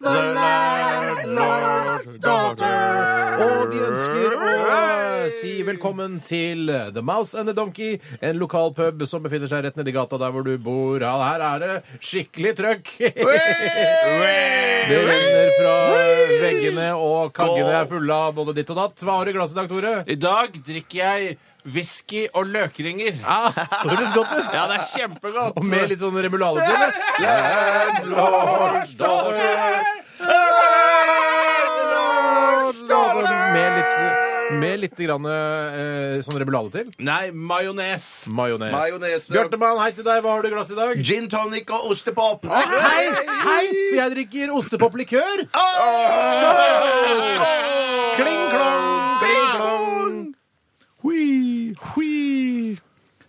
The landlord's daughter. Og vi ønsker å si velkommen til The Mouse and the Donkey, en lokal pub som befinner seg rett nedi gata der hvor du bor. Ja, her er det skikkelig trøkk! Det renner fra veggene, og kaggene er fulle av både ditt og datt. Hva har du i glasset i dag, Tore? I dag drikker jeg whisky og løkringer. Ah, det høres godt ut. Ja, det er kjempegodt. Og med litt sånn remulade til det. Med litt, med litt grann, eh, sånn remulade til. Nei, majones. Majones. Majones, ja. Bjartemann, hei til deg. Hva har du i glasset i dag? Gin tonic og ostepop. Hei, hei! For jeg drikker ostepoplikør. Kling klong, kling klong. Hui, hui.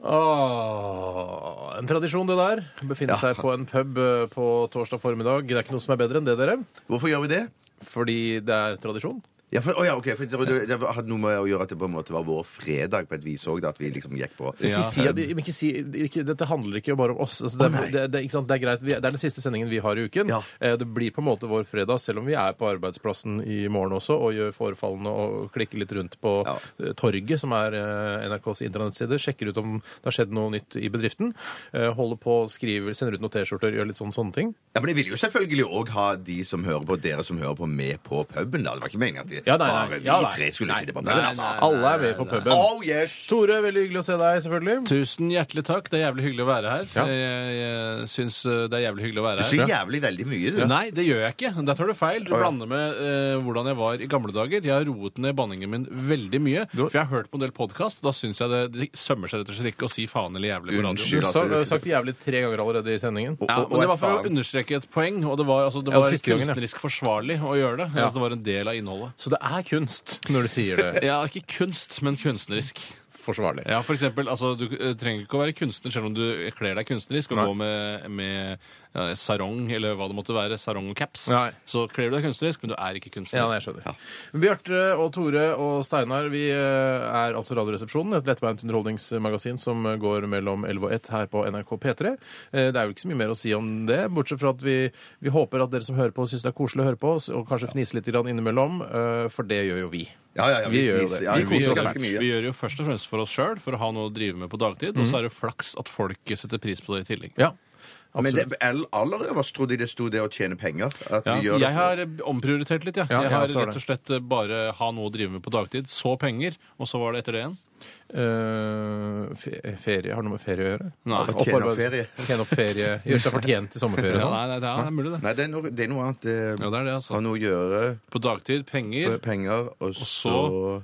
Åh, en tradisjon, det der. Befinne seg på en pub eh, på torsdag formiddag. Det er ikke noe som er bedre enn det, dere. Hvorfor gjør vi det? Fordi det er tradisjon. Ja, for, å ja, ok, for det, det hadde noe med å gjøre at det på en måte var vår fredag på et vis òg, at vi liksom gikk på Ikke si at, men ikke si, ikke, dette handler ikke bare om oss. Altså, det, er, det, det, ikke sant? det er greit. Vi, det er den siste sendingen vi har i uken. Ja. Eh, Det blir på en måte vår fredag, selv om vi er på arbeidsplassen i morgen også og gjør forefallende og klikker litt rundt på Ja. eh, Torget, som er eh, NRKs internettside. Sjekker ut om det har skjedd noe nytt i bedriften. Eh, Holder på, skriver, sender ut noen T-skjorter, gjør litt sånn sånne ting. Ja, Men jeg ville jo selvfølgelig òg ha de som hører på, dere som hører på, med på puben. da. Det var ikke meningen at de, Ja, nei, nei. bare vi Ja, nei. tre skulle Nei. sitte på Nei, puben. nei, altså. nei. Alle er med på puben. Oh yes! Tore, veldig hyggelig å se deg, selvfølgelig. Tusen hjertelig takk. Det er jævlig hyggelig å være her. Ja. Jeg, jeg syns eh, det er jævlig hyggelig Du å være her. sier jævlig veldig mye, du. Nei, det gjør jeg ikke. Der tar du feil. Du blander med eh, hvordan jeg var i gamle dager. Jeg har roet ned banningen min veldig mye. For jeg har hørt på en del podkast. Da syns jeg det, det sømmer seg rett og slett ikke å si faen eller jævlig på Du radio. Unnskyld. har sa- eh, sagt jævlig tre ganger allerede i sendingen. Og- Ja, og- og men det et var for å faen. understreke et poeng, og det var, altså, det Ja, var siste gangen, ja. kunstnerisk forsvarlig å gjøre det. Ja. Altså, det var en del av innholdet. Så det er kunst når du sier det. Ja, ikke kunst, men kunstnerisk. Forsvarlig. Ja, for eksempel, altså, Du eh, trenger ikke å være kunstner selv om du kler deg kunstnerisk og Nei. går med, med ja, sarong eller hva det måtte være. Sarong og caps. Nei. Så kler du deg kunstnerisk, men du er ikke kunstner. Ja, nei, jeg skjønner. Bjarte og Tore og Steinar, vi eh, er altså Radioresepsjonen, et lettbeint underholdningsmagasin som eh, går mellom 11 og 1 her på NRK P3. Eh, Det er jo ikke så mye mer å si om det, bortsett fra at vi, vi håper at dere som hører på, syns det er koselig å høre på oss, og kanskje fnise litt grann innimellom, eh, for det gjør jo vi. Ja, ja, ja, Vi gjør jo fniser. det. Ja, Vi vi koser koser oss oss ganske mye. Mhm. Vi gjør det jo først og fremst for oss sjøl, for å ha noe å drive med på dagtid. Og så er det flaks at folk setter pris på det i tillegg. Ja. Men Absolutt. det, all- aller øverst trodde jeg det sto det å tjene penger. At Ja, vi gjør jeg det for- har omprioritert litt, ja. Ja, jeg jeg har også har rett og det. slett eh, bare ha noe å drive med på dagtid. Så penger, og så var det etter det igjen. Eh, fe- ferie Har det noe med ferie å gjøre? Nei. Opp- Tjene opp opparbeid- ferie. Tjene opp ferie. Gjøre seg fortjent til sommerferie. Ja, og sånn. nei, nei, det er, det er mulig, det. Nei, det er noe, det er noe annet. Ja, det er det, altså. Har noe å gjøre, På dagtid, penger penger, og så så-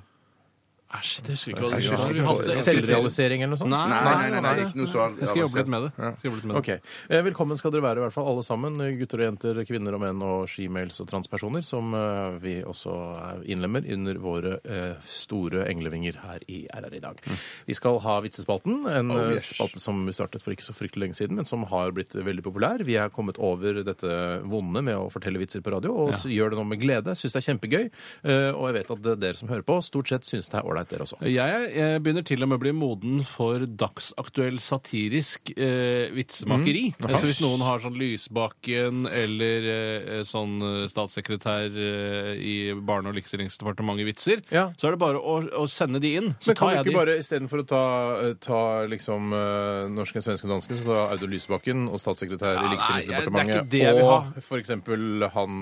Æsj, det husker jeg ikke Jeg hva det var. husker ikke Vi hadde hva det- et- Selvrealisering eller noe sånt? Nei, Nei, nei, nei, nei, ikke noe sånn. så Jeg skal jobbe litt med det. Jeg Skal jobbe litt med det. Ok. Eh, Velkommen skal dere være, i hvert fall alle sammen. Gutter og jenter, kvinner og menn og shemales og transpersoner, som eh, vi også eh, innlemmer under våre eh, store englevinger her i RR i dag. Vi skal ha Vitsespalten, en Oh, eh, yes. spalte som vi startet for ikke så fryktelig lenge siden, men som har blitt veldig populær. Vi er kommet over dette vonde med å fortelle vitser på radio, og s- gjør det nå med glede. Syns det er kjempegøy. eh, Og jeg vet at eh, dere som hører på, stort sett syns det er ålreit, dere også. Jeg, jeg begynner til og med å bli moden for dagsaktuell satirisk eh, Mm, vitsemakeri. Så hvis noen har sånn Lysbakken eller eh, sånn eh, statssekretær eh, i Barne- og likestillingsdepartementet-vitser, Ja. så er det bare å, å sende de inn. Så Men kan tar du jeg ikke de. bare istedenfor å ta, eh, ta liksom eh, norsken, svensken og dansken, så ta Audun Lysbakken og statssekretær Ja, i nei, Likestillingsdepartementet? det er ikke det jeg vil ha. og for eksempel han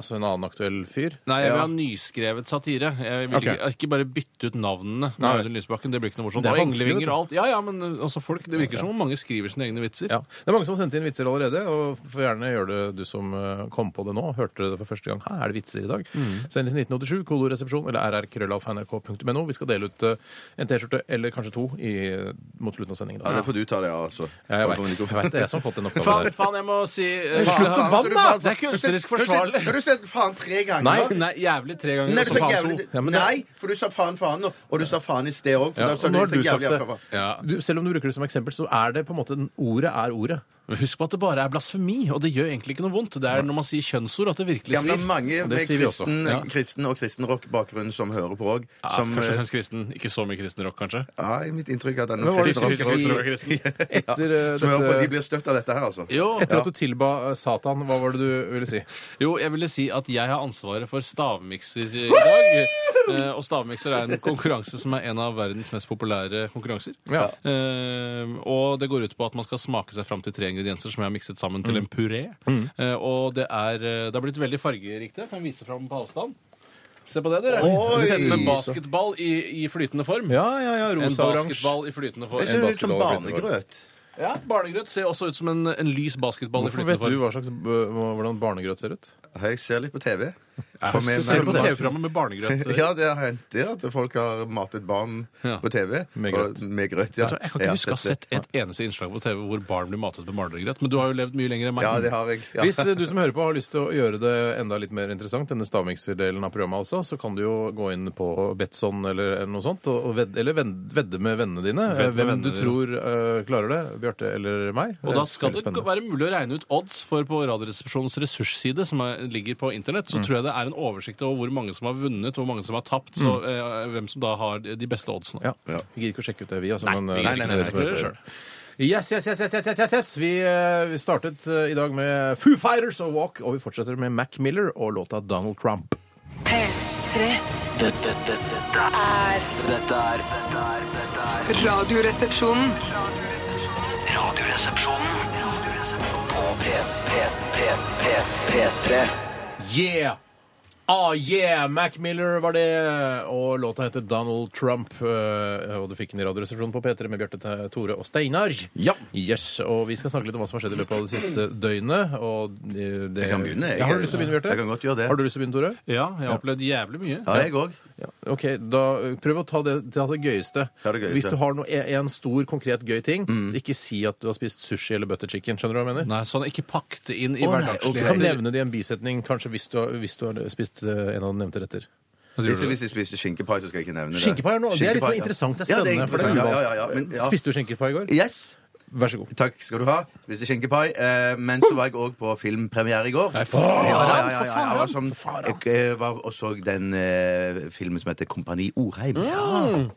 Altså en annen aktuell fyr? Nei, jeg vil Ja. ha nyskrevet satire. Jeg vil Ok. ikke, ikke bare bytte ut navnene. Nei. Audun Lysbakken, det blir ikke noe morsomt. Det er Og vanskelig, vet englevinger du. og alt. Ja, ja, men uh, altså, folk, det virker som om mange skriver sine egne vitser. Ja. Det er mange som har sendt inn vitser allerede, og får gjerne gjøre det du som eh, kom på det nå, hørte det for første gang. Her er det vitser i dag. Mm. Send til 1987, kodoresepsjon eller rrkrøllalfa.nrk.no. Vi skal dele ut eh, en T-skjorte eller kanskje to i, mot slutten av sendingen. Ja, det får du ta deg av, altså. Ja, jeg vet. Dominico. Jeg vet det er jeg som har fått den oppgaven Faen, der. faen, jeg må si uh, Slutt med faen. vann, da! Det er kunstnerisk forsvarlig. Har du sett faen tre ganger? Nei, nei, jævlig tre ganger. Nei, du sa og så jævlig, faen to. Ja, men det- nei, for du sa faen faen nå, og du sa faen i sted òg. Ja, og nå har du sagt det. Ja. Du, selv om du bruker det som eksempel, så er det på en måte Ordet er ordet. Men Husk på at det bare er blasfemi, og det gjør egentlig ikke noe vondt. Det er når man sier kjønnsord at det virkelig Ja, men det svir. er mange Og det med sier vi også. kristen, Ja. kristen og kristenrock-bakgrunn som eh, hører på òg. Ja, først og fremst kristen. Ikke så mye kristen rock, kanskje. Ja, i mitt inntrykk er at det er noen Men hva var det du kristenrock- skulle si? Etter, eh, som hører på. dette- De blir støtt av dette her, altså. Jo, Etter at du tilba eh, Satan, hva var det du ville si? jo, jeg ville si at jeg har ansvaret for stavmikser i dag. Eh, Og stavmikser er en konkurranse som er en av verdens mest populære konkurranser. Ja. Eh, og det går ut på at man skal smake seg fram til tre ingredienser som jeg har mikset sammen til en puré. Eh, og det er eh, Det har blitt veldig fargerikt. Jeg kan vise fram på avstand. Se på det, dere. Oi! Det ser ut som en basketball i, i flytende form. Ja, ja, ja, En rosa, oransje. basketball i flytende form. Det sånn ser ut som barnegrøt. Ja, Barnegrøt ser også ut som en, en lys basketball i Hvorfor flytende vet du form. hva slags, b- hvordan barnegrøt ser ut? Hei, Jeg ser litt på TV. For meg- Ser du på Nei, TV-programmet med barnegrøt? Ja, det har hendt det at folk har matet barn Ja. på TV. Med og- grøt. Med grøt ja. Jeg tror- jeg kan ikke huske å ha sett det. sett et eneste innslag på TV hvor barn blir matet med barnegrøt, men du har jo levd mye lenger enn meg. Ja, det har jeg. Ja. Hvis eh, du som hører på har lyst til å gjøre det enda litt mer interessant, denne stavmikserdelen av programmet altså, så kan du jo gå inn på Betson eller noe sånt, og og ved, eller ved- vedde med vennene dine. eh, Vedde med Hvem vennene du dine. tror eh, klarer det, Bjarte eller meg. Og da skal veldig det spennende. være mulig å regne ut odds, for på Radioresepsjonens ressursside, som er, ligger på internett, Mm. så tror jeg det er en oversikt over hvor mange som har vunnet, hvor mange som har tapt, så Mm. eh, hvem som da har de beste oddsene. Ja. Vi gidder ikke å sjekke ut det, vi. Altså, Nei, men, vi eh, gidder ikke. dere Nei, som vi hører gjør på. Yes, yes, yes, yes, yes, yes, yes, yes. Vi, eh, vi startet eh, i dag med Foo Fighters og Walk, og vi fortsetter med Mac Miller og låta Donald Trump. P3 Dette, dette, dette er er Dette er dette er- dette er Radioresepsjonen. Radioresepsjonen på P, P, P, P, P3. Yeah! Ah, yeah! Mac Miller var det, og låta heter Donald Trump. eh, Og du fikk den i Radioresepsjonen på P3 med Bjarte Te- Tore og Steinar. Ja. Yes, Og vi skal snakke litt om hva som har skjedd i løpet av det siste døgnet. Og eh, det... Jeg kan begynne, jeg. Ja, har du lyst til å begynne, Bjarte? Jeg kan godt gjøre det. Har du lyst til å begynne, Tore? Ja, jeg har opplevd jævlig mye. Ja, jeg òg. Ja. Ok, da eh, prøv å ta det, ta det, gøyeste. Ta det gøyeste. Mm. Hvis du har noe, en stor, konkret gøy ting, ikke si at du har spist sushi eller butter chicken. Skjønner du hva jeg mener? Nei, så han er ikke pakket inn i Å, nei, Du hverdagsligheten. kan nevne det i en bisetning, kanskje hvis du har, hvis du har spist eh, en av de nevnte retter. Hvis, hvis de spiste skinkepai, så skal jeg ikke nevne det. Skinkepai er noe det er litt Skinkepai, ja. sånn interessant. Det er Ja, spennende. for det er interessant. Ja, uvant. ja, ja, men, ja. Spiste du skinkepai i går? Yes. Vær så god. Takk skal du ha. Hvis det er skinkepai. Eh, men så var jeg òg på filmpremiere i går. Nei, for faen! Ja, ja, ja, ja, jeg var sånn, jeg eh, var og så den eh, filmen som heter Kompani Orheim. Tore Renberg.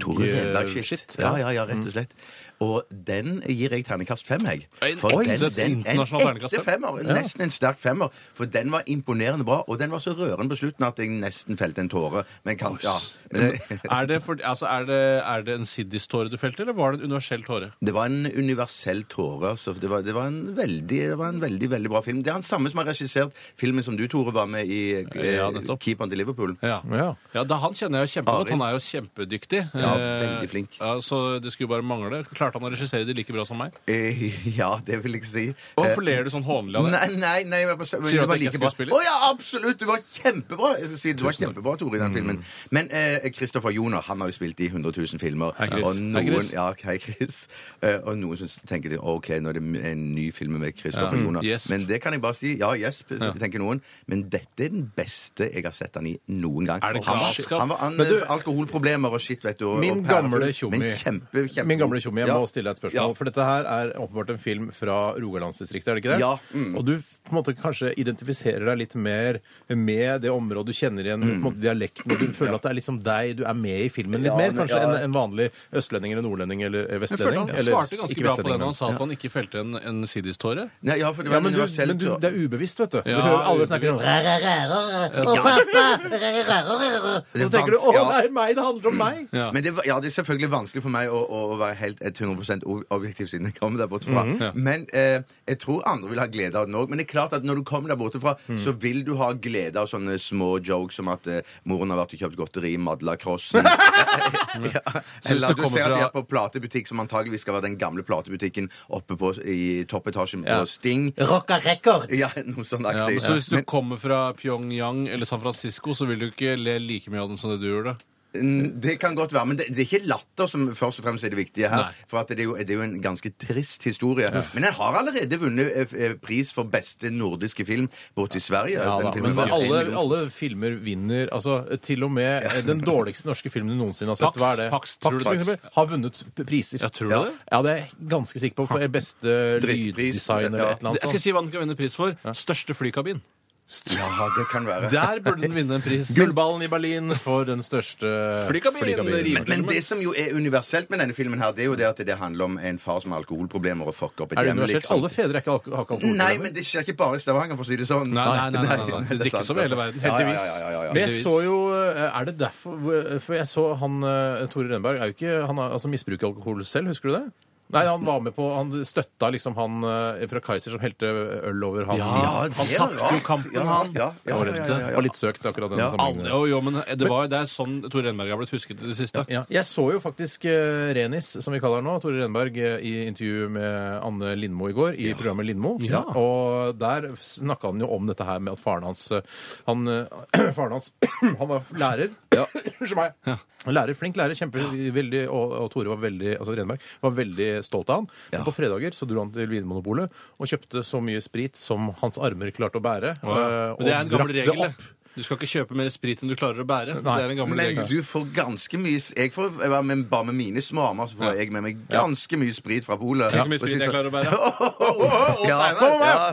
Ah. Tore Renberg, eh, shit. Ja, ja, ja, rett og slett. Og den gir jeg ternekast fem, jeg. En- oi, så internasjonal en terningkast ekte fem. femmer. Nesten en sterk femmer. For den var imponerende bra, og den var så rørende på slutten at jeg nesten felte en tåre. Men kan, ja. Men det, Er det, for, altså, er det, er det en siddis-tåre du felte, eller var det en universell tåre? Det var en universell tåre. Altså. Det, var, det, var en veldig, det var en veldig veldig bra film. Det er han samme som har regissert filmen som du, Tore, var med i eh, Ja, nettopp. Keeperen til Liverpool. Ja. Ja. Ja, da, Han kjenner jeg jo kjempegodt. Arild. Han er jo kjempedyktig. Ja, Eh, veldig flink. Ja, så det skulle bare mangle. Klarte han å regissere det like bra som meg? Eh, ja, det vil jeg si. Og Eh, Hvorfor ler du sånn hånlig av det? Nei, nei, nei men, men, Sier du du at var jeg like ikke er bra. skuespiller? Å ja, absolutt! Du var kjempebra! Jeg skal si, du var kjempebra, Tore, Mm. i den filmen. Men eh, Christopher Joner han har jo spilt i 100 000 filmer. Hei, Chris. Og Hei, Chris. noen, ja, hei, Chris. Eh, og noen syns, tenker de, OK, nå er det en ny film med Christopher Ja. Mm, Joner. Gjesp. Men det kan jeg bare si. Ja, gjesp, tenker noen. Men dette er den beste jeg har sett han i noen gang. Er det han var, galskap? han var han, Men du- alkoholproblemer og shit, vet du. Og, Min og gamle pærefull, tjommi. men Kjempe, kjempe, Min gamle tjommi, jeg Ja. må stille deg et spørsmål. Ja. For dette her er åpenbart en film fra Rogalandsdistriktet, er det ikke det? Ja, mm. Og du på en måte kanskje identifiserer deg litt mer med det området du kjenner igjen, på en måte dialekten, og du føler at det er liksom deg, du er med i filmen litt Ja, mer, men- kanskje, ja. enn en vanlig østlending eller nordlending eller eh, Jeg vestlending? følte Han eller svarte ganske ikke bra på vestlending, den men- han sa at han ikke felte en, en siddis-tåre. Nei, ja, for det var Ja, en men, du, universell men du, tåre. det er ubevisst, vet du. Du Ja, hører alle snakker om ræ, ræ, ræ, ræ, ræ, og pappa, ræ, ræ, ræ, ræ, ræ. Og så tenker du vanskelig, å ja. nei, meg, det handler om meg. Ja. Men det, var- ja, det er selvfølgelig vanskelig for meg å, å, å være helt 100 100 o- objektiv siden jeg kom der borte fra. Mhm. Men eh, jeg tror andre vil ha glede av den òg. Men det er klart at når du kommer der borte fra, Mhm. så vil du ha glede av sånne små jokes som at eh, moren har vært og kjøpt godteri i Madlakrossen. ja. Eller det du kommer ser at de fra- er på platebutikk, som antageligvis skal være den gamle platebutikken oppe på, i toppetasjen på Ja. Sting. Rocka records! Ja, noe sånn Ja, aktig. men så hvis du kommer fra Pyongyang eller San Francisco, så vil du ikke le like mye av den som det du gjorde. Mm, Det kan godt være, men det, det er ikke latter som først og fremst er det viktige her. Nei. For at det, er jo, det er jo en ganske trist historie. Men den har allerede vunnet eh, f- eh, pris for beste nordiske film borte i Sverige. Ja, Den da, filmen men var alle, veldig god. alle filmer vinner. Altså, til og med eh, den dårligste norske filmen du noensinne har sett, Pax, hva er det? Pax, tror Pax, du for det? eksempel, har vunnet p- priser. Ja, tror du ja. det? Ja, det er jeg ganske sikker på. For beste Drittpris, lyddesign eller ja. altså. et eller Jeg skal annet sånt. si hva den kan vinne pris for. Største flykabin. Ja, det kan være. Der burde den vinne en pris. Gullballen i Berlin for den største Flykabinen, Men, men det som jo er universelt med denne filmen, her, det er jo det at det handler om en far som har alkoholproblemer og fucker opp et Er det hjem. universelt? liksom. Alle fedre er ikke alko- har ikke alkohol. Nei, men det skjer ikke bare i Stavanger, for å si det sånn. Nei, nei, nei, nei, nei, nei. er Det drikkes sant, over hele altså. verden, Ja, ja, heldigvis. ja, ja, ja, ja. Men jeg så jo eh, Er det derfor For jeg så han eh, Tore Renberg er jo ikke Han har- altså, misbruker alkohol selv, husker du det? Nei, han var med på Han støtta liksom han eh, fra Kaiser som helte øl over han. Ja, Ja, han tapte jo kampen, ja, han. Ja, ja, ja, ja, ja, Det ja. var litt søkt, akkurat den Ja, Alle, sammenligningen. jo, jo, men det, var, det er sånn Tore Renberg har blitt husket i det siste. Ja, jeg så jo faktisk eh, Renis, som vi kaller her nå, Tore Renberg, eh, i intervju med Anne Lindmo i går, i programmet Lindmo. Ja. Og der snakka han jo om dette her med at faren hans eh, Han, eh, faren hans, han var lærer. Unnskyld meg. Lærer, Flink lærer, kjempe, veldig, og, og Tore var veldig, altså Renberg var veldig stolt av han. Men på fredager så dro han til Vinmonopolet og kjøpte så mye sprit som hans armer klarte å bære. eh, Men det er en og drakk gammel det regel. opp. det. Du skal ikke kjøpe mer sprit enn du klarer å bære. Det er en gammel Men regel. du får ganske mye Jeg får være med, bare med mine små armer, så får Ja. jeg med meg ganske mye sprit fra polet. Tenk hvor mye sprit jeg klarer å Oh, bære. Ja, Steinar. ja.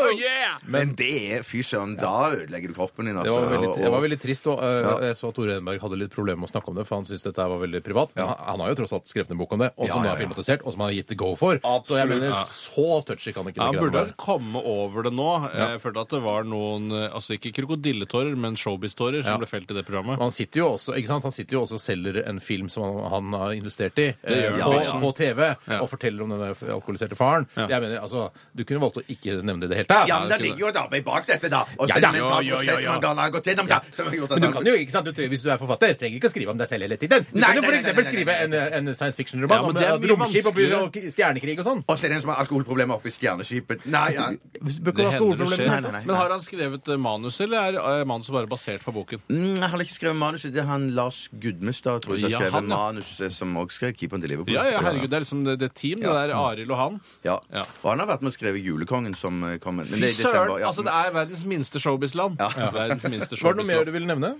Oh, yeah! Men det er Fy søren, da ødelegger du kroppen din, Det altså. var veldig, Og- det var veldig trist. Og, eh, Jeg så at Tore Renberg hadde litt problemer med å snakke om det, for han syntes dette her var veldig privat. Men han, han har jo tross alt skrevet en bok om det, og som nå er filmatisert, og som han har gitt det go for. Så jeg mener, ja. så touchy kan ikke det Ja, han greiene burde være. vel komme over det nå. Jeg følte at det var noen eh, altså ikke krokodilletårer, men showbiz-tårer som Ja. ble felt i det programmet. Men Han sitter, jo også, ikke sant? han sitter jo også og selger en film som han, han har investert i, eh, gjør han, på, ja. på TV, Ja. og forteller om denne alkoholiserte faren. Jeg mener, altså, Du kunne valgt å ikke nevne det i det hele tatt. Ja, men det ligger jo et arbeid bak dette, da. Og så Ja, er ja. det en mental Jo, jo, jo, prosess jo. man kan ha gått gjennom, da. Som har gjort at Men du han- kan jo, ikke sant? Du, tre- Hvis du er forfatter, trenger ikke å skrive om deg selv hele tiden. Du Nei, kan jo nei, for nei, nei, eksempel nei, skrive nei, en, nei. en science fiction-roman Ja, men om det er eh, mye romskip og, vanskeligere. og stjernekrig og sånn. Og så er det en som har alkoholproblemer oppe i Stjerneskipet. Nei, ja. Bør ikke Det ha hender det alkoholproblemer. skjer. Nei, nei, nei. Men har han skrevet eh, manus, eller er eh, manuset bare basert på boken? Mm, Jeg har ikke skrevet manuset. Det er han Lars Gudmestad tror jeg, som Ja, har skrevet han, ja. manuset, som også skrev 'Keeperen til Liverpool'. Ja, ja, herregud, det er liksom det, det er team, det der Arild og han. Ja. Ja. Og han har vært med å skrive 'Julekongen', som eh, kom men det er Fy i desember, søren! ja. Altså, det er verdens minste showbiz-land. Verdens minste Var det noe mer showbiz-land. du ville nevne?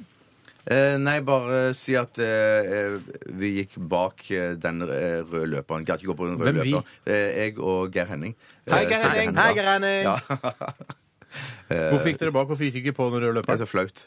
Eh, nei, bare si at eh, eh, vi gikk bak eh, den eh, røde løperen. Gadd ikke gå på den røde Hvem vi? løperen. Eh, jeg og Geir Henning. Eh, Hei, Geir så det Henning. hender, Hei, ja. Ja. Hvorfor gikk dere bak? Hvorfor gikk ikke på den Det røde er løperen? så flaut.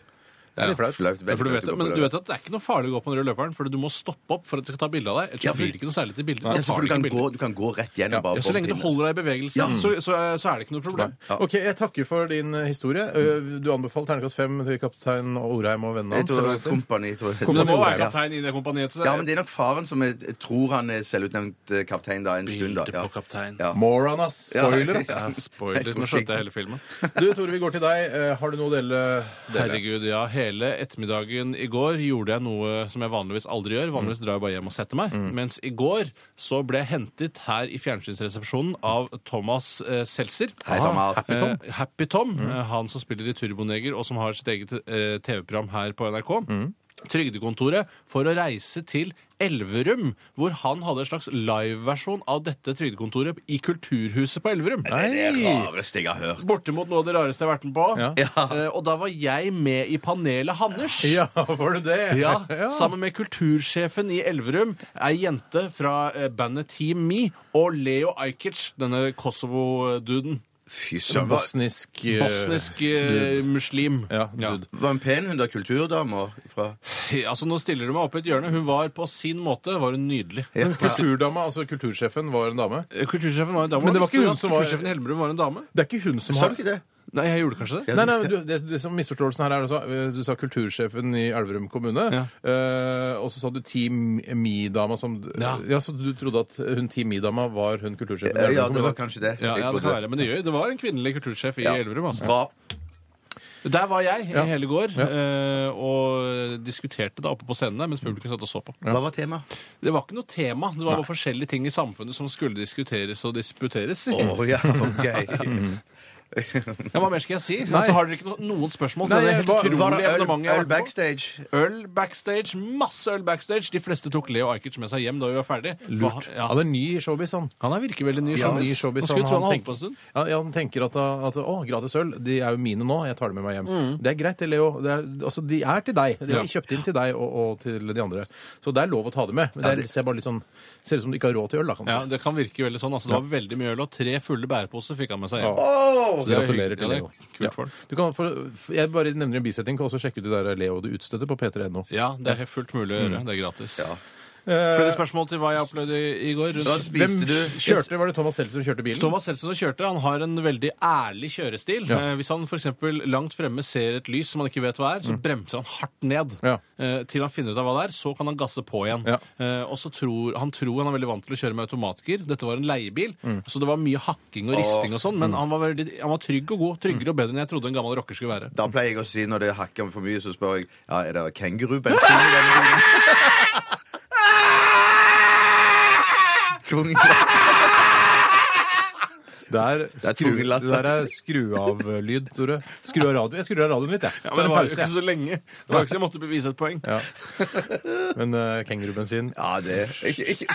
Det er litt flaut. flaut Ja, veldig for du flaut å gå vet, det, på men røde du vet at Det er ikke noe farlig å gå på den røde løperen, for du må stoppe opp for at de skal ta bilde av deg. Ellers Ja, så for- blir det ikke noe særlig til bilder. løperen. Da ja, for tar du, de kan ikke gå, bilder. du kan gå rett igjen. og bare Ja, så lenge du holder deg i bevegelse, så, så, eh, så er det ikke noe problem. OK, jeg takker for din eh, historie. Ø, Du anbefaler terningkast fem til kaptein Orheim og vennene Jeg hans. tror eller det var hva det heter? kompani, tror jeg. Men det må Kompani være Ja. kaptein i det kompaniet. så det- Ja, men det er nok faren som er, tror han er selvutnevnt eh, kaptein da en stund. da. Bilde Ja. på kaptein. Ja. Moron, ass! Spoiler, Ja. ass! Spoiler. Nå skjønte jeg hele filmen. Du, Tore, vi går til deg. Eh, Har du noe å dele? dele? Herregud, ja. Hele ettermiddagen i går gjorde jeg noe som jeg vanligvis aldri gjør. Vanligvis drar jeg bare hjem og setter meg. Mens i går så ble jeg hentet her i fjernsynsresepsjonen av Thomas eh, Seltzer. Hei, Thomas. Eh, Happy Tom, eh, han som spiller i Turboneger, og som har sitt eget eh, TV-program her på NRK. Trygdekontoret for å reise til Elverum, hvor han hadde en slags liveversjon av dette Trygdekontoret i Kulturhuset på Elverum. Det er det rareste jeg har hørt. Bortimot noe av det rareste jeg har vært med på. Ja. Eh, og da var jeg med i panelet Hanners. Ja, var du det? Ja, Sammen med kultursjefen i Elverum, ei jente fra eh, bandet Team Me, og Leo Ajkic, denne Kosovo-duden. Fy søren. Var, Bosnisk eh, Bosnisk eh, dude. muslim. Ja, dude. var en pen hun da, kulturdama fra Altså, Nå stiller du meg opp i et hjørne. Hun var på sin måte var hun nydelig. Men Kulturdama, altså kultursjefen, var en dame? Eh, Kultursjefen var en dame. Men det var Visste du ikke hun at som var- Kultursjefen i Elverum var en dame. Det er ikke hun som Sa du ikke det? Nei, jeg gjorde kanskje det. Nei, nei, du, det, det som misforståelsen her er du sa, du sa kultursjefen i Elverum kommune, Ja. eh, og så sa du Team Mi-dama som ja. Ja. Så du trodde at hun Team Mi-dama var hun kultursjefen i Eh, Ja, Elverum det var kommune? kanskje det. Ja, Jeg ja, trodde det kan være. Men det, gjør, det var en kvinnelig kultursjef i Ja. Elverum. Altså. Bra. Der var jeg i Ja. hele går eh, og diskuterte da oppe på scenen der mens publikum satt og så på. Hva var temaet? Det var ikke noe tema. Det var bare forskjellige ting i samfunnet som skulle diskuteres og disputeres. Å ja, ok. Ja, Hva mer skal jeg si? Altså, har dere ikke no noen spørsmål? Nei, det er helt hva- utrolig Var det øl, evenement jeg øl har vært på. backstage? Øl backstage, masse øl backstage. De fleste tok Leo Ajkic med seg hjem da vi var ferdig. Lurt. Ja, Han er ny i showbiz, han. han er virker veldig ny Ja, ny showbiz, Man skulle han- tro han han holdt på en stund. Ja, ja, han tenker at, at å, gratis øl, de er jo mine nå, jeg tar det med meg hjem. Det er greit, det, Leo. Det er, altså, de er til deg. De er Mm. Ja. kjøpt inn til deg og, og til de andre. Så det er lov å ta det med. Men det, er, ser bare litt sånn, ser ut som du ikke har råd til øl, da, kan du Ja, si. Det kan virke veldig sånn. altså Det var veldig mye øl, og tre fulle bæreposer fikk han med seg Ja. hjem. Åh! Så gratulerer til Ja, det er Leo. kult for han. Du kan, for, for- jeg bare nevner en bisetting, kan også sjekke ut det der Leo det utstøtte på p3.no. Ja, det er helt fullt mulig å gjøre. Det er gratis. Ja. Flere spørsmål til hva jeg opplevde i- i går? rundt- Da spiste du Kjørte, var det Thomas selv som kjørte bilen? Thomas Seltzer som kjørte, han har en veldig ærlig kjørestil. Ja. Eh, Hvis han f.eks. langt fremme ser et lys som han ikke vet hva er, så bremser han hardt ned. Mm. Ja. Eh, Til han finner ut av hva det er, så kan han gasse på igjen. Ja. Eh, Og så tror Han tror han er veldig vant til å kjøre med automatgir. Dette var en leiebil, Mm. så det var mye hakking og risting og sånn, men han var, veldig, han var trygg og god. Tryggere og bedre enn jeg trodde en gammel rocker skulle være. Da pleier jeg å si når det hakker om for mye, så spør jeg ja, er det kengurubensin i denne bilen. Tvungen klapp. Der, er trugelatt. det der er skru av lyd, Tore. Skru av radio. Jeg skrur av radioen litt, jeg. Ja, men det var jo pause, ikke jeg. så lenge. Det var jo ikke så jeg måtte bevise et poeng. Ja. Men uh, kengurubensin Ja, det ikke, ikke.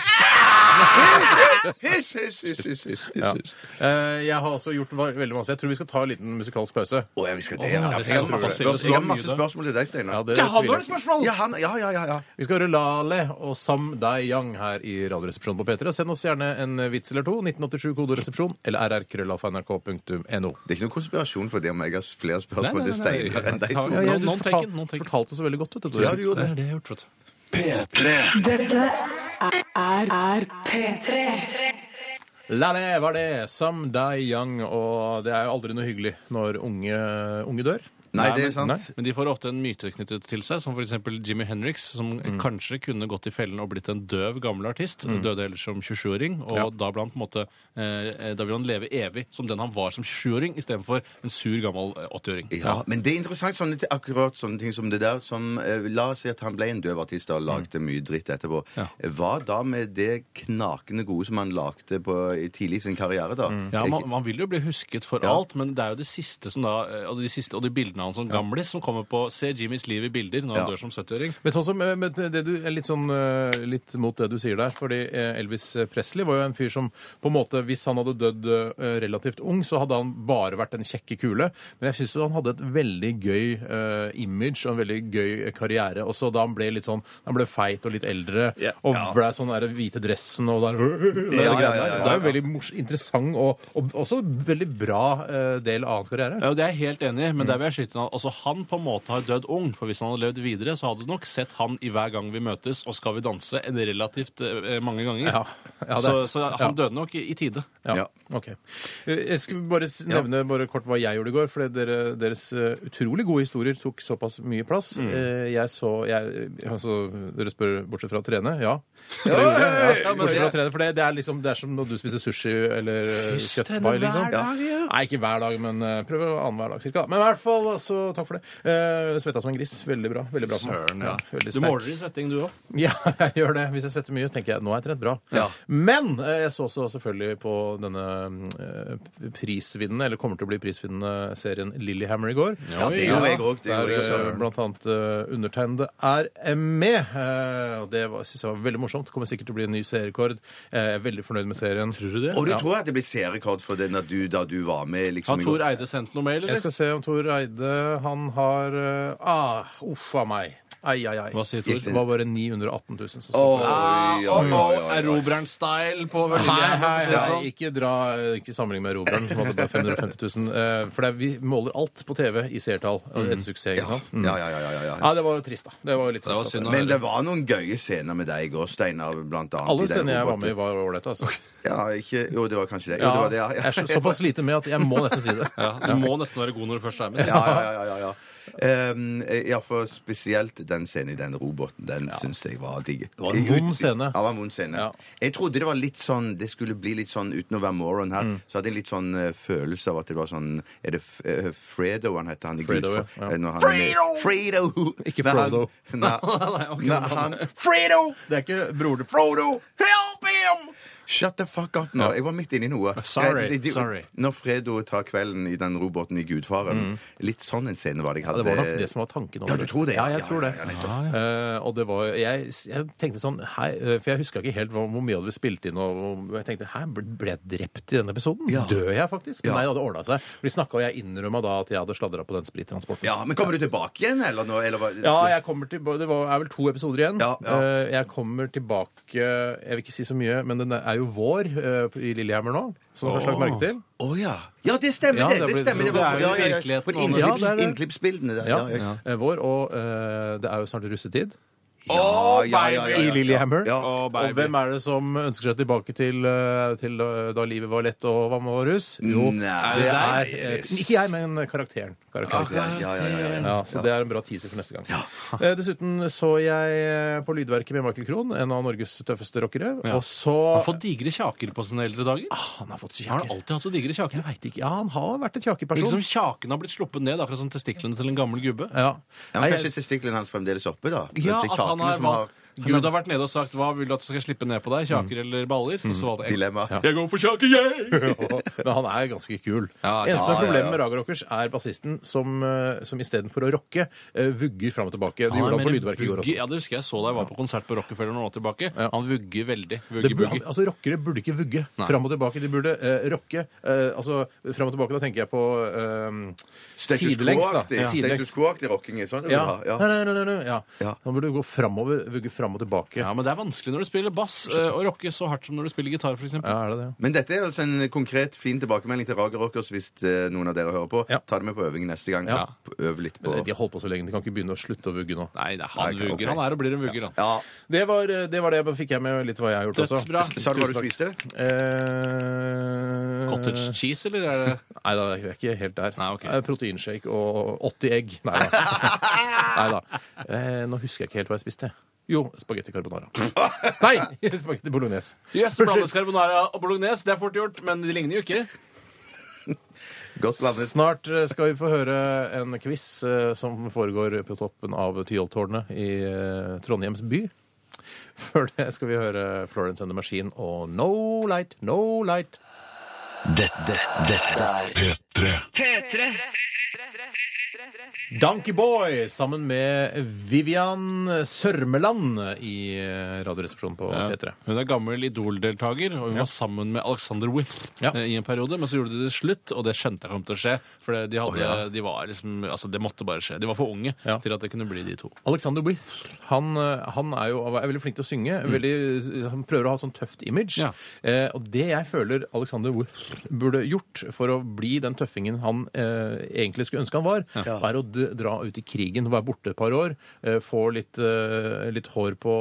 Hysj, hysj, hysj, hysj, hysj. ja. Eh, Jeg har også gjort va- veldig masse. Jeg tror vi skal ta en liten musikalsk pause. Å, ja, vi skal det, ja. Jeg har herregud, masse spørsmål, det er så jeg har mye, masse da. spørsmål til deg, Steinar. Ja, det Ja, tviler nå er jeg det ikke. spørsmål! Ja, han, ja, ja, ja, ja. Vi skal høre Lale og Sam Dai Yang her i Radioresepsjonen på P3. Send oss gjerne en vits eller to. 1987 kodoresepsjon eller rrkrøllalfa.nrk.no. Det er ikke noen konspirasjon for det om jeg har flere Nei, nei, spørsmål til nei, nei. Steinar enn deg Ta- to. ja, ja. du Noen fortal- taken, noen taken. fortalte så veldig godt, vet du. Ja, du gjorde det. er det jeg har gjort, vet du. P3 Dette er, er P3. Lale var det. Sam Dai Yang. Og det er jo aldri noe hyggelig når unge, unge dør. Nei, det er men- sant. Men de får ofte en myte knyttet til seg, som f.eks. Jimmy Henriks, som Mm. kanskje kunne gått i fellen og blitt en døv gammel artist. Døde ellers som 27-åring, og Ja. da ble han på en måte eh, Da vil han leve evig som den han var som 27-åring, istedenfor en sur gammel eh, 80-åring. Ja, men det er interessant sånne, ti- akkurat sånne ting som det der som eh, La oss si at han ble en døv artist og lagde mye dritt etterpå. Ja. Hva da med det knakende gode som han lagde på, i tidlig i sin karriere, da? Ja, Ikke- man, man vil jo bli husket for alt, men det er jo det siste som da, eh, og de siste, og de bildene av han som gamlis som kommer på Se Jimmys liv i bilder når han Ja. dør som 70-åring. Men sånn som, eh, men det du, er litt, sånn, eh, litt mot det du sier der, fordi eh, Elvis Presley var jo en fyr som på en måte, hvis han hadde dødd eh, relativt ung, så hadde han bare vært en kjekke kule. Men jeg syns han hadde et veldig gøy eh, image og en veldig gøy eh, karriere. Og så da han ble litt sånn, han ble feit og litt eldre, Ja. og ble sånn der hvite dressen og der, Ja, ja, ja, greiene ja, der. ja. Det er jo veldig mors interessant og, og også veldig bra eh, del av hans karriere. Ja, og Det er jeg helt enig i, men Mm. der vil jeg skyte inn at altså, han på en måte har dødd ung. For hvis han hadde levd videre, så hadde du nok sett han i Hver gang vi møtes og Skal vi danse en relativt eh, mange ganger. Ja. Ja, det så, er- så ja. han døde nok i, i tide. Ja, Ja. ok. Eh, Jeg skal bare s- nevne bare kort hva jeg gjorde i går, for dere, deres eh, utrolig gode historier tok såpass mye plass. Eh, Jeg så jeg, altså, Dere spør bortsett fra å trene? Ja. Dere gjorde det, ja. Ja, men bortsett fra å det- trene, for det, det, er liksom, det er som når du spiser sushi eller eh, kjøttpai. Liksom. Nei, ikke hver dag, men eh, prøv annenhver dag cirka. Men i hvert fall, så takk for det. Eh, Svetta som en gris. Veldig bra. Veldig bra for meg. Søren, ja. veldig Du sterk. måler i svetting, du òg. Ja, jeg gjør det. Hvis jeg svetter mye, tenker jeg nå er jeg trent bra. Ja. Men eh, jeg så også selvfølgelig på denne eh, prisvinnende, eller kommer til å bli prisvinnende, serien Lillehammer i går. Ja, det gjorde jeg òg. Det gjorde Der jeg eh, også. blant annet eh, undertegnede er eh, med. Eh, og Det var- synes jeg var veldig morsomt. Det kommer sikkert til å bli en ny seerrekord. Eh, Jeg er veldig fornøyd med serien. Tror du det? Og du tror at det blir seerrekord for den da du, da du var med? liksom Har i Tor går? Eide sendt noe mail, Jeg eller? skal se om Tor Eide Tybring-Gjedde, han har eh, ah, Uff a meg. Ai, ai, ai. Hva sier det Tor? var bare 918 000 som så Oi, på. det. oi, oi, oi, oi. Erobreren-style Ah, på Hei, Vøllinga. hei, hei. sånn. Ikke, dra, ikke sammenlign med Robrand, som hadde bare 550 000. eh, For det er, vi måler alt på TV i seertall. En suksess, ikke sant? Mm. Ja, ja, ja, ja, ja, ja. Ja, det var jo trist, da. Det var jo litt var trist. at- synd å Men det var noen gøye scener med deg i går, Steinar, blant annet. i den Alle scenene jeg var med i, roboten. var ålreite, altså. Ja, ikke, jo, det var kanskje det. Jo, Ja, det var det, ja. Jeg er så, såpass lite med at jeg må nesten si det. Ja, du må nesten være god når du først er Ja, med. ja, ja, ja, ja. Ehm, ja, for spesielt den scenen i den roboten, den syns jeg var digg. Det var en vond scene. Ja, det var en vond scene. Ja. Jeg trodde det var litt sånn, det skulle bli litt sånn, uten å være moron her, Mm. så hadde jeg litt sånn eh, følelse av at det var sånn Er det F eh, Fredo han heter? Han i Fredo, Gud, ja. eh, når han er med- Fredo! Ikke Når han- Frodo. Nei, Når han Fredo! Det er ikke bror til Frodo! Help him! Shut the fuck up nå. Jeg var midt inni noe. Sorry, Jeg- de- de- sorry. Når Fredo tar kvelden i den roboten i Gudfaren Litt sånn en scene var det jeg Mm. hadde. Ja, det var nok det som var tanken. Ja, du tror det? Ja, jeg tror det. Ja, ja, ja, nettopp. Eh, og det var, jeg, jeg tenkte sånn hei, eh, For jeg huska ikke helt hva, hvor mye hadde vi spilt inn. Og, og jeg tenkte her ble jeg drept i denne episoden? Ja. Dør jeg faktisk? Ja. Men nei, det hadde ordna seg. For de snakka, og jeg innrømma da at jeg hadde sladra på den sprittransporten. Ja, men kommer du tilbake igjen, eller nå? Eller, hva- Ja, jeg kommer til, det var, er vel to episoder igjen. Ja, ja. Eh, Jeg kommer tilbake Jeg vil ikke si så mye, men det er jo vår eh, i Lillehammer nå. Som du kanskje har lagt merke til. Å, ja. ja, det stemmer, Ja, det! det det, blir- stemmer, så det, var, det er jo ja, ja, ja. virkeligheten, For innklips, Anders. Ja, det er det. innklippsbildene der. Ja, Ja, ja. eh, Vår, og eh, det er jo snart russetid. Ja, ja, ja, ja, ja. I Lillehammer. Ja. Å, baby. Og hvem er det som ønsker seg tilbake til, eh, til eh, da livet var lett og hva med russ? Jo, Nei. det er eh, Ikke jeg, men karakteren. karakteren. Ja, ja, ja, ja, Ah. ja. Ja, så det er en bra teaser for neste gang. Eh, Dessuten så jeg eh, på Lydverket med Michael Krohn, en av Norges tøffeste rockere. Og så Han får digre kjaker på sine eldre dager. Han har fått Har han kjaker. alltid hatt så digre kjaker? Ah, Jeg veit ikke. Ja, han har vært en Det er kjakeperson. Liksom Kjaken har blitt sluppet ned da, fra sånn testiklene til en gammel gubbe. Ja, Ja. Nei, men jeg- kanskje testiklene hans fremdeles oppe, da? Ja, Kanskje at han kjakene har som valgt Gud har vært nede og sagt 'hva vil du at jeg skal slippe ned på deg', kjaker eller baller? Og så valgte jeg Dilemma. Jeg går for kjaker, jeg! Men han er ganske kul. Ja, ja, Eneste som er ja, ja. problemet med Raga Rockers, er bassisten som, eh, som istedenfor å rocke, eh, vugger fram og tilbake. Det gjorde han på Lydverket i går også. Ja, det husker jeg så da jeg var på konsert på Rockefeller noen år tilbake. Ja. Han vugger veldig. Det, Vugger, bu- han, bugger. altså Rockere burde ikke vugge Nei. fram og tilbake. De burde eh, rocke. Eh, altså fram og tilbake, da tenker jeg på eh, sidelengs. da. Sidelengs. Status Sidelengs. quo-aktig rocking. er Sånn, det vil du Ja. ha, ja. Ja. Nei, nei, nei, nei, ja. Ja. Han burde gå framover, vugge fram og tilbake. Ja, Ja, men det er vanskelig når du spiller bass, eh, å rocke så hardt som når du spiller gitar, f.eks. er det det? Men dette er altså en konkret, fin tilbakemelding til Rager Rockers hvis eh, noen av dere hører på. Ja. Ta det med på øving neste gang. Ja. Øv litt på Men de har holdt på så lenge. De kan ikke begynne å slutte å vugge nå. Nei, nei, han Nei, ok. vugger. Han er og blir en vugger, han. Ja. Det var eh, det, var det jeg fikk jeg med litt hva jeg har gjort også. Dødsbra. Sa du hva du spiste? Eh, Cottage cheese, eller er det Nei da, jeg er ikke helt der. Nei, ok. Eh, Proteinshake og 80 egg. Nei da. Nei da. Eh, nå husker jeg ikke helt hva jeg spiste. Jo, spagetti carbonara. Nei! Spagetti bolognese. Yes, blandet carbonara og bolognese, det er fort gjort, men de ligner jo ikke. Godt blandet. Snart eh, skal vi få høre en quiz eh, som foregår på toppen av Tyholttårnet i eh, Trondheims by. Før det skal vi høre Florence and the Machine og No Light, No Light. Dette, dette er P3. Donkey Boy sammen med Vivian Sørmeland i eh, Radioresepsjonen på P3. Hun er gammel Idol-deltaker, og hun var sammen med Alexander With Ja. eh, i en periode. Men så gjorde de det slutt, og det skjønte jeg kom til å skje. For det- de hadde, de var liksom, altså det måtte bare skje. De var for unge Ja. til at det kunne bli de to. Alexander With han, eh, han er jo er veldig flink til å synge. Veldig, han prøver å ha sånn tøft image. Ja. Eh, og det jeg føler Alexander With burde gjort for å bli den tøffingen han eh, egentlig skulle ønske han var, er å d dra ut i krigen, være borte et par år, eh, få litt, eh, litt hår på,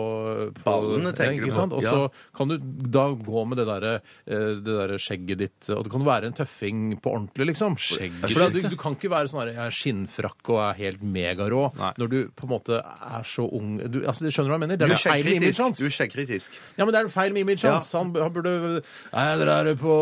på eh, Ballene, tenker ikke du på? sant? Og så Ja. kan du da gå med det derre eh, det derre skjegget ditt, og det kan være en tøffing på ordentlig, liksom. Skjegget For da- ditt, du, du kan ikke være sånn her, jeg er skinnfrakk og er helt megarå Nei. når du på en måte er så ung du, altså, Skjønner du hva jeg mener? Det Du er er noe feil med imaget skjeggkritisk. hans. Du er skjeggkritisk. Ja, men det er noe feil med imaget hans. Han, han burde Nei, dere er på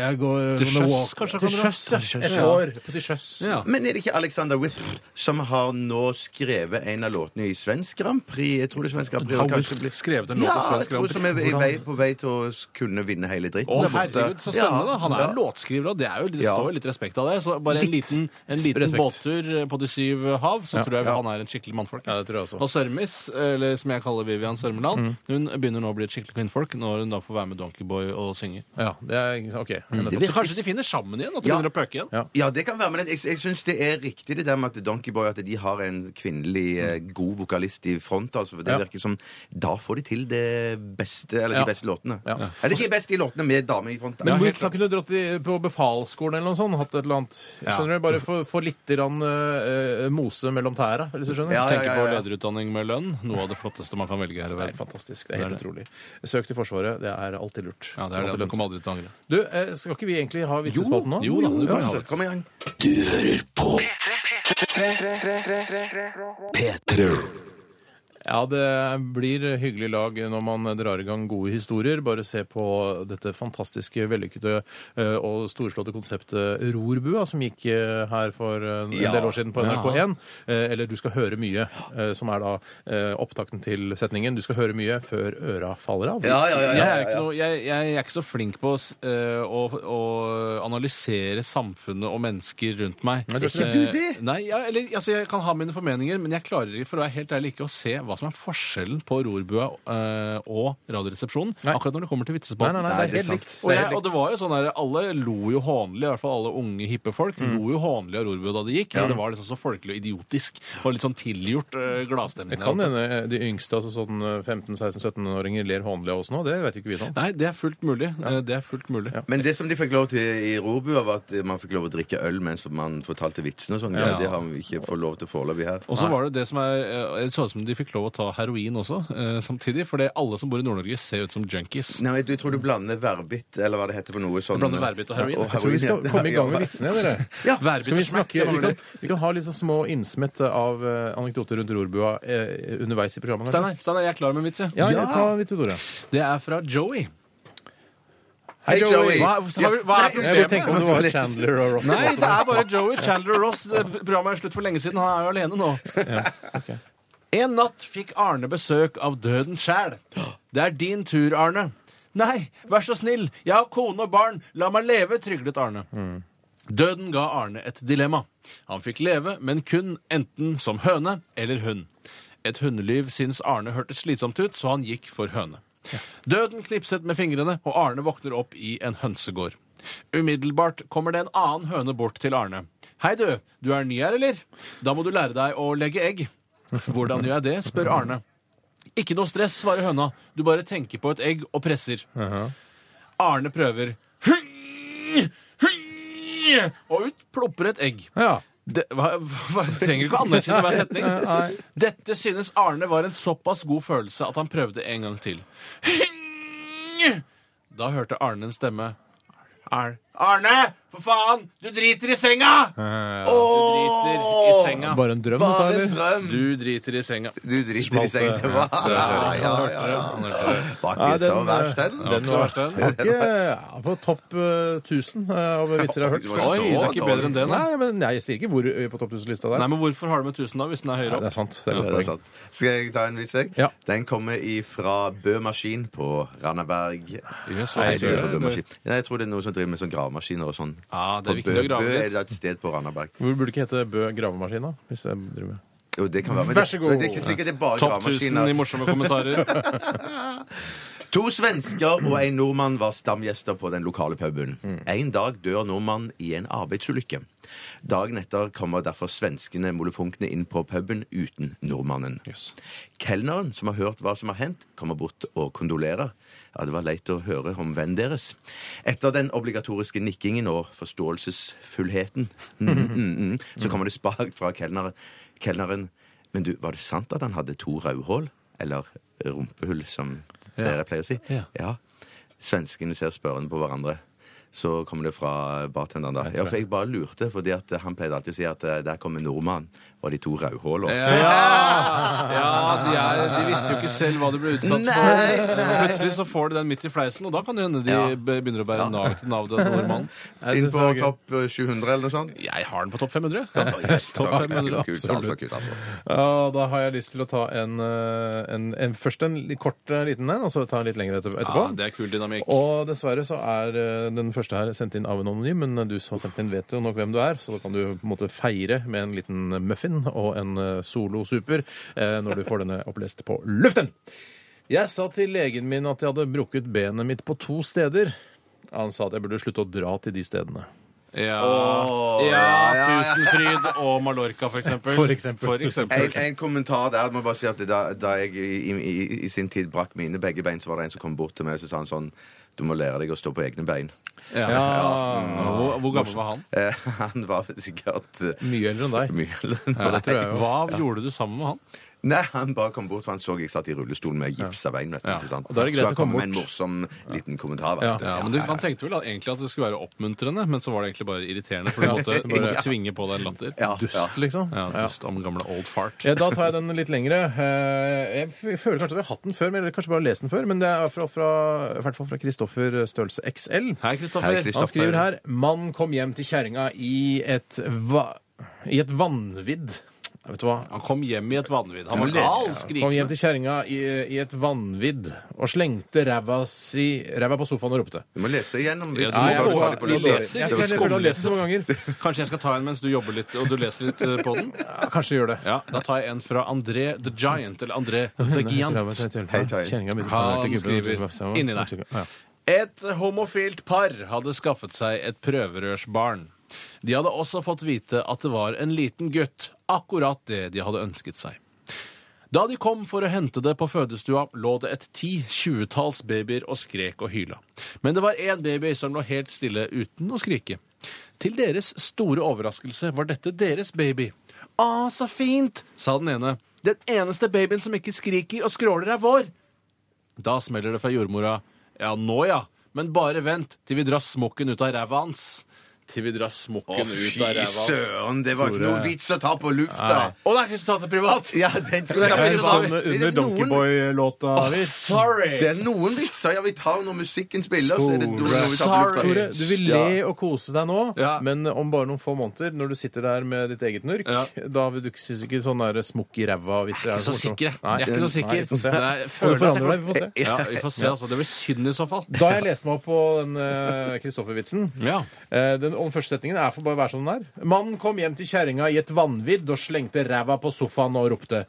Jeg går Til on a sjøs, walk. kanskje, Til kan sjøs, dere? ja. Et år på til sjøs. Ja. Men er det ikke Alexander With som har nå skrevet en av låtene i Svensk Grand Prix? Jeg tror det er Svensk Grand Prix. Har og kanskje With blir- skrevet en låt Ja, til Svensk jeg Grand tror Prix? som er i vei, på vei til å s- kunne vinne hele dritten. Å, der borte. herregud, så spennende, da. Ja, Han er ja. en låtskriver, og det, er jo, det Ja. står jo litt respekt av det. Så bare en Litt liten, en liten respekt. båttur eh, på De syv hav, så tror jeg Ja. han er en skikkelig mannfolk. Ja, det tror jeg også. Og Sørmis, eller som jeg kaller Vivian Sørmeland, hun begynner nå å bli et skikkelig kvinnfolk når hun da får være med Donkeyboy og synge. Ja, det er OK. Mm. Så kanskje de finner sammen igjen? At de Ja. begynner å pøke igjen? Ja. Ja, det kan være, men jeg, jeg syns det det er riktig det der med at Donkeyboy at de har en kvinnelig eh, god vokalist i front, altså, for det Ja. virker som Da får de til det beste, eller Ja. de beste låtene. Ja. Eller de beste låtene med dame i front. da. Men helt hvorfor kunne du dratt i, på befalsskolen eller noe sånt? Hatt et eller annet. Skjønner du? Bare få få litt grann, eh, mose mellom tæra, hvis du skjønner? Ja, ja, Tenker ja, på ja. lederutdanning med lønn. Noe av det flotteste man kan velge her i Det er helt verden. fantastisk. Det er helt Det er utrolig. Søk til Forsvaret. Det er alltid lurt. Ja, det er det. Alltid Du lønt. kommer aldri til å angre. Du, eh, skal ikke vi egentlig ha vitsespalten nå? jo da, du kan Ja. ha Så, kom igjen. Ja, det blir hyggelig lag når man drar i gang gode historier. Bare se på dette fantastiske, vellykkede eh, og storslåtte konseptet Rorbua, som gikk eh, her for en Ja. del år siden på Ja. NRK1. Eh, Eller Du skal høre mye, eh, som er da eh, opptakten til setningen Du skal høre mye før øra faller av. Ja, ja, ja, Jeg ja, er, ja, ikke ja. noe, jeg, jeg er ikke så flink på å, s- eh, å, å analysere samfunnet og mennesker rundt meg. du er ikke Eh, du det? Nei, ja, eller, altså, Jeg kan ha mine formeninger, men jeg klarer ikke, for å være helt ærlig ikke å se hva som er forskjellen på rorbua eh, og Radioresepsjonen Nei. akkurat når det kommer til Nei, vitsespalten. nei, nei, Nei, det er det er helt sant. likt. Og, Det er jeg, helt og det likt. var jo sånn der, Alle lo jo hånlig, i hvert fall alle unge, hippe folk. Mm. lo jo hånlig av Rorbua da det gikk. Og det var liksom så folkelig og idiotisk. Og litt sånn tilgjort uh, gladstemning. Det der kan oppe. hende eh, de yngste, altså sånn 15-16-17-åringer, ler hånlig av oss nå. Det vet ikke vi nå. Nei, det er fullt mulig. Eh, Det er fullt mulig. Men det som de fikk lov til i Robua, var at man fikk lov å drikke øl mens man fortalte vitsene og sånn. Ja. Ja. Det har vi ikke fått lov til foreløpig her. Og så var det det som er eh, Det så ut som de fikk lov å ta heroin også eh, samtidig. For det alle som bor i Nord-Norge, ser ut som junkies. Nei, men du tror du blander verbitt, eller hva det heter for noe sånn blander verbitt og heroin. Ja, Jeg Jeg tror vi skal ja. komme i gang med Ja. vitsene, dere. Ja. Værbitt Skal vi, og smekk, snakke, det vi, mangler. kan, vi kan ha litt sånn små innsmett av eh, anekdoter rundt rorbua eh, underveis i programmet. kanskje? Steinar, Steinar, jeg er klar med vits. jeg. Ja, ja, ta vits Tore. Det er fra Joey. Hei, Joey! Hva, hva, hva er Jeg vil tenke problemet? om det var Chandler og Ross. Nei, også, det men- er bare Joey Chandler og Ross. Det Programmet er slutt for lenge siden. Han er jo alene nå. En natt fikk Arne besøk av døden sjæl. Det er din tur, Arne. Nei, vær så snill. Jeg har kone og barn. La meg leve, tryglet Arne. Mm. Døden ga Arne et dilemma. Han fikk leve, men kun enten som høne eller hund. Et hundeliv syntes Arne hørtes slitsomt ut, så han gikk for høne. Døden knipset med fingrene, og Arne våkner opp i en hønsegård. Umiddelbart kommer det en annen høne bort til Arne. Hei du, du er ny her, eller? Da må du lære deg å legge egg. Hvordan gjør jeg det, spør Arne. Ikke noe stress, svarer høna. Du bare tenker på et egg og presser. Arne prøver. Og ut plopper et egg. Ja. Det, hva, hva, trenger ikke å anerkjenne hver setning. Dette synes Arne var en såpass god følelse at han prøvde en gang til. Da hørte Arne en stemme. Ar Arne! For faen! Du driter i senga! Du driter i senga. Bare en drøm, Bare dette, en eller? drøm! Du driter i senga. Du driter i sengen. Det var Ja, ja, ja, ja, ja. Var ikke så verst, den. den så var, verst, den. var ikke ja, på topp eh, 1000 av vitser jeg har hørt. Det var så Oi, det er ikke dårlig. bedre enn det, nei. Nei, men nei, jeg sier ikke hvor eh, på topp 1000-lista det Nei, er. men hvorfor har du med 1000 da, hvis den er høyere Nei, Det opp? er sant. Det er Ja, det et er godt poeng. sant. Skal jeg ta en vits? jeg? Ja. Den kommer ifra Bø Maskin på Randaberg. Yes, altså, Nei, jeg tror det er det, på Bø Maskin. Nei, jeg tror det er noen som driver med sånn gravemaskiner og sånn. ja, det På er viktig å Bø grave Bø er litt. det et sted på Randaberg. Hvor burde det ikke hete Bø gravemaskin, da? Hvis jeg driver med Jo, det kan være, men Vær så god. Det, det er ikke sikkert det er bare Topp 1000 i gravemaskiner. morsomme kommentarer. To svensker og en nordmann var stamgjester på den lokale puben. En dag dør nordmannen i en arbeidsulykke. Dagen etter kommer derfor svenskene molefonkene inn på puben uten nordmannen. Kelneren, som har hørt hva som har hendt, kommer bort og kondolerer. Ja, Det var leit å høre om vennen deres. Etter den obligatoriske nikkingen og forståelsesfullheten, mm, mm, mm, så kommer det spark fra kelneren. kelneren. Men du, var det sant at han hadde to rødhål? Eller rumpehull, som dere pleier å si? Ja. ja. Svenskene ser spørrende på hverandre. Så kommer det fra bartenderen, da. Ja, for jeg bare lurte, fordi at han pleide alltid å si at eh, der kom en nordmann og de to rødhåla. Ja, ja de, er, de visste jo ikke selv hva de ble utsatt for. Plutselig så får de den midt i fleisen, og da kan det hende de Ja. be- begynner å bære nag til Nav-døden nordmannen. Inn synes det på var gøy. topp eh, 700 eller noe sånt. Jeg har den på topp 500. Topp 500, Kutt, altså, kutt, altså. Ja, Da har jeg lyst til å ta en, eh, en, en først en litt kort eh, liten en, og så ta en litt lengre etter- etterpå. Ja, det er kul dynamikk. Og dessverre så er eh, den første her sendt inn av en anonym, men du som har sendt inn vet jo nok hvem du er, så da kan du på en måte feire med en liten muffin og en eh, Solo Super eh, når du får denne opplest på luften. Jeg sa til legen min at jeg hadde brukket benet mitt på to steder. Han sa at jeg burde slutte å dra til de stedene. Ja, Åh, ja, ja, ja, ja. Tusenfryd og Mallorca, for eksempel. For eksempel. For eksempel. En, en kommentar der. Jeg Må bare si at da, da jeg i, i, i sin tid brakk mine begge bein, så var det en som kom bort til meg og så sa han sånn Du må lære deg å stå på egne bein. Ja. Hvor, hvor gammel var han? Eh, han var sikkert eh, Mye eldre enn deg. mye eldre enn meg. det tror jeg jo. Hva gjorde du sammen med han? Nei, han bare kom bort, for han så jeg satt i rullestol med gipsa bein. Vet du, ikke sant? Og da er det greit så han å komme kom med en bort. morsom liten kommentar. Ja, Vet du. Ja, men du, Han tenkte vel egentlig at det skulle være oppmuntrende, men så var det egentlig bare irriterende. For du måtte bare tvinge på deg en latter. Ja, ja. Dust, liksom. Ja, Ja. dust om gamle old fart. Ja, da tar jeg den litt lengre. Eh, Jeg f- føler kanskje at vi har hatt den før, men- eller kanskje bare lest den før. Men det er fra, fra, i hvert fall fra Kristoffer størrelse XL. Hei, Hei, Kristoffer. Kristoffer. Han skriver her Mann kom hjem til kjerringa i et, va i et vanvidd. Ja, Vet du hva? Han kom hjem i et vanvidd. Han var Ja, gal, Kom hjem skrikende. til kjerringa i, i et vanvidd og slengte ræva, si, ræva på sofaen og ropte. Du må lese igjennom. Ja, litt, så må så jeg du tar ta det på vi litt. leser. Jeg Det var føler jeg føler jeg har lest den så mange ganger. Kanskje jeg skal ta en mens du jobber litt og du leser litt eh, på den? Kanskje gjør det. Ja, Da tar jeg en fra André the Giant. Eller André the Giant. Hei, Tarjei. Kjerringa begynte å ta Han den til gubben, og skriver tok- inni deg. Et homofilt par hadde skaffet seg et prøverørsbarn. De hadde også fått vite at det var en liten gutt, akkurat det de hadde ønsket seg. Da de kom for å hente det på fødestua, lå det et ti-tjuetalls babyer og skrek og hyla. Men det var én baby som lå helt stille uten å skrike. Til deres store overraskelse var dette deres baby. Å, så fint, sa den ene. Den eneste babyen som ikke skriker og skråler, er vår. Da smeller det fra jordmora. Ja, nå ja. Men bare vent til vi drar smokken ut av ræva hans. Til vi drar smokken ut av Fy ræva hans. søren, det var ikke noe vits å ta på lufta! Å, det er resultatet privat! Ja, den skulle jeg Det er Det sånn var- det er Under noen- Donkeyboy-låta. Sorry! Det er noen vitser. Ja, vi tar når musikken spiller, så er det noe Tore. når vi tar på lufta. Tore, du vil le og kose deg nå, Ja. men om bare noen få måneder, når du sitter der med ditt eget nurk, Ja. da vil du ikke synes ikke sånn der smokk i ræva-vitser Jeg er ikke så morsomt. sikker, jeg. Nei. Jeg er ikke så Nei, vi får sikker. se. Nei, jeg Og føler du at jeg forandrer deg, vi får se. Ja, vi får se, altså. Det blir synd i så fall. Da jeg leste meg opp på den eh, Kristoffer-vitsen Ja. eh, Den om første setningen er for bare å være som den er. Mannen kom hjem til kjerringa i et vanvidd og slengte ræva på sofaen og ropte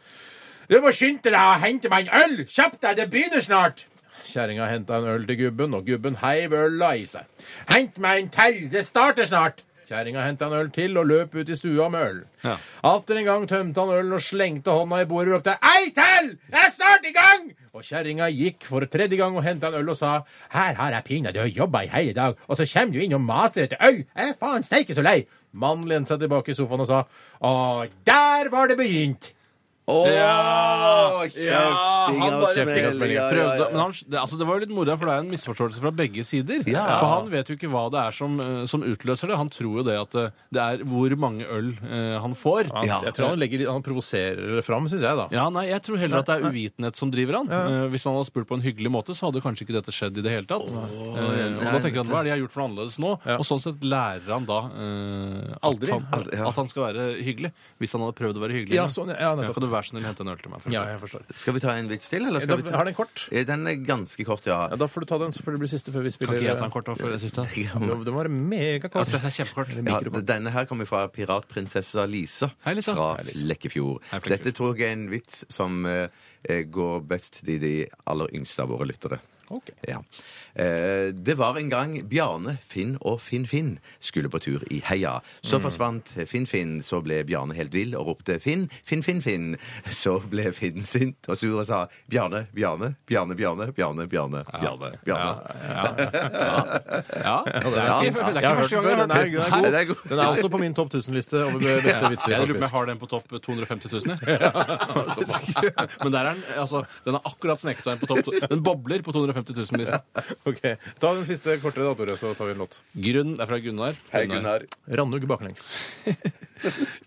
Du må skynde deg og hente meg en øl! Kjapp deg, det begynner snart! Kjerringa henta en øl til gubben, og gubben heiv øla i seg. Hent meg en til, det starter snart! Kjerringa henta en øl til og løp ut i stua med øl. Ja. Atter en gang tømte han ølen og slengte hånda i bordet og ropte Ei til! Jeg er snart i gang! Og kjerringa gikk for tredje gang og henta en øl og sa Her har jeg pinadø jobba i hele dag, og så kommer du inn og maser etter øl! Jeg er faen steike så lei! Mannen lente seg tilbake i sofaen og sa Å, der var det begynt! Åh, kjefting altså. han og bare- smell, Kjefting og smell, ja. ja, ja, Prøvde, ja. men han, det, altså det var jo litt moro, for det er jo en misforståelse fra begge sider. Ja. For han vet jo ikke hva det er som, eh, som utløser det. Han tror jo det at eh, det er hvor mange øl eh, han får. Jeg tror han, legger, han provoserer det fram, syns jeg, da. Ja, nei, Jeg tror heller at det er uvitenhet som driver han. Eh, hvis han hadde spurt på en hyggelig måte, så hadde kanskje ikke dette skjedd i det hele tatt. Eh, og da tenker han, hva er det jeg har gjort for annerledes nå? Og sånn sett lærer han da eh, Aldri. At, han, ja. at han skal være hyggelig. Hvis han hadde prøvd å være hyggelig. Ja, sånn, ja, nettopp. kan du være så snill å hente en øl til meg? for Ja, eksempel? jeg forstår. Skal vi ta en vits til, eller Da, skal vi ta har den kort? Eh, Den er ganske kort, ja. Ja, da får du ta den, så får det bli siste før vi spiller. Kan ikke jeg ta en kort da, før det siste? Jo, Den var megakort. Altså, det er kjempekort. Ja, denne her kommer fra piratprinsessa Lisa, Hei, Lisa. fra Hei, Lisa. Lekkefjord. Hei, Flekkefjord. Dette tror jeg er en vits som eh, eh, går best til de aller yngste av våre lyttere. Ok. Ja. Eh, det var en gang Bjarne, Finn og Finn-Finn skulle på tur i heia. Så Mm. forsvant Finn-Finn, så ble Bjarne helt vill og ropte Finn, Finn-Finn-Finn. Så ble Finn sint og sur og sa Bjarne, Bjarne, Bjarne, Bjarne, Bjarne, Bjarne, Bjarne. Bjarne. Ja, Ja, det er ikke- det er jeg ikke har hørt første gang jeg den. har hørt Den er, god. Den er god. Den er også på min topp 1000-liste over beste vitser. Jeg lurer på om jeg faktisk. har den på topp 250 000. jeg. Men der er den, altså, den har akkurat sneket seg inn på topp. Den bobler på 250 000-listen. Ok, Ta den siste kortere, da, Tore, så tar vi en låt. Grunn, det er fra Gunnar. Hei, Gunnar. Randug baklengs.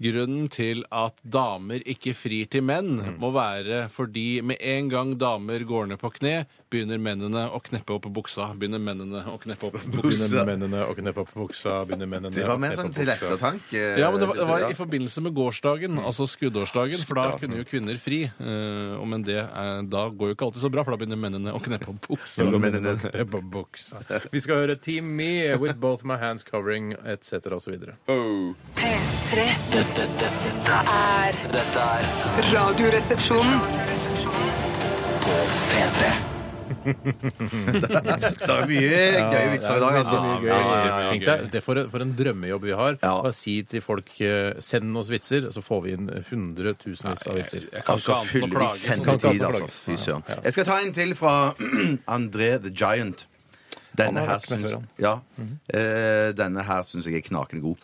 Grunnen til at damer ikke frir til menn, Mm. må være fordi med en gang damer går ned på kne, begynner mennene å kneppe opp buksa. Begynner mennene å kneppe opp buksa. Begynner mennene å kneppe opp buksa, begynner mennene Det var mer sånn til ettertanke. eh, Ja, men det var, det var ja. Mm. i forbindelse med gårsdagen, altså skuddårsdagen, for da kunne jo kvinner fri. Eh, og men det er, da går jo ikke alltid så bra, for da begynner mennene å kneppe opp buksa. Begynner mennene å kneppe opp buksa. Vi skal høre Team Me with both my hands covering etc. osv. P3 Dette, dette, dette, er dette er Radioresepsjonen. P3. Det er mye gøye vitser i dag, altså. Ja, gøy. ja, ja, ja, Tenk deg, det er for, en- for en drømmejobb vi har. Ja. Bare si til folk eh, 'send oss vitser', så får vi inn hundretusenvis av vitser. Jeg kan ikke Altså, annet enn å fyller vi klage. send- Kan ikke sendetid, annet enn å altså. klage. Fy søren. Jeg skal ta en til fra André the Giant. Denne Han har her vært med syns- før, han. ja, eh, denne her syns jeg er knakende god.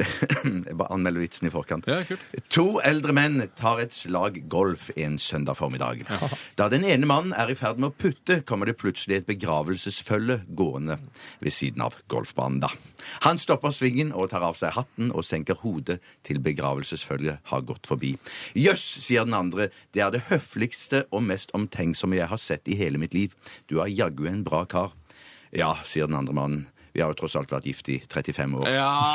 jeg bare anmelder vitsen i forkant. Ja, kult. To eldre menn tar et slag golf en søndag formiddag. Da den ene mannen er i ferd med å putte, kommer det plutselig et begravelsesfølge gående ved siden av golfbanen, da. Han stopper svingen og tar av seg hatten og senker hodet til begravelsesfølget har gått forbi. Jøss, sier den andre, det er det høfligste og mest omtenksomme jeg har sett i hele mitt liv. Du er jaggu en bra kar. Ja, sier den andre mannen. Vi har jo tross alt vært gift i 35 år. Ja.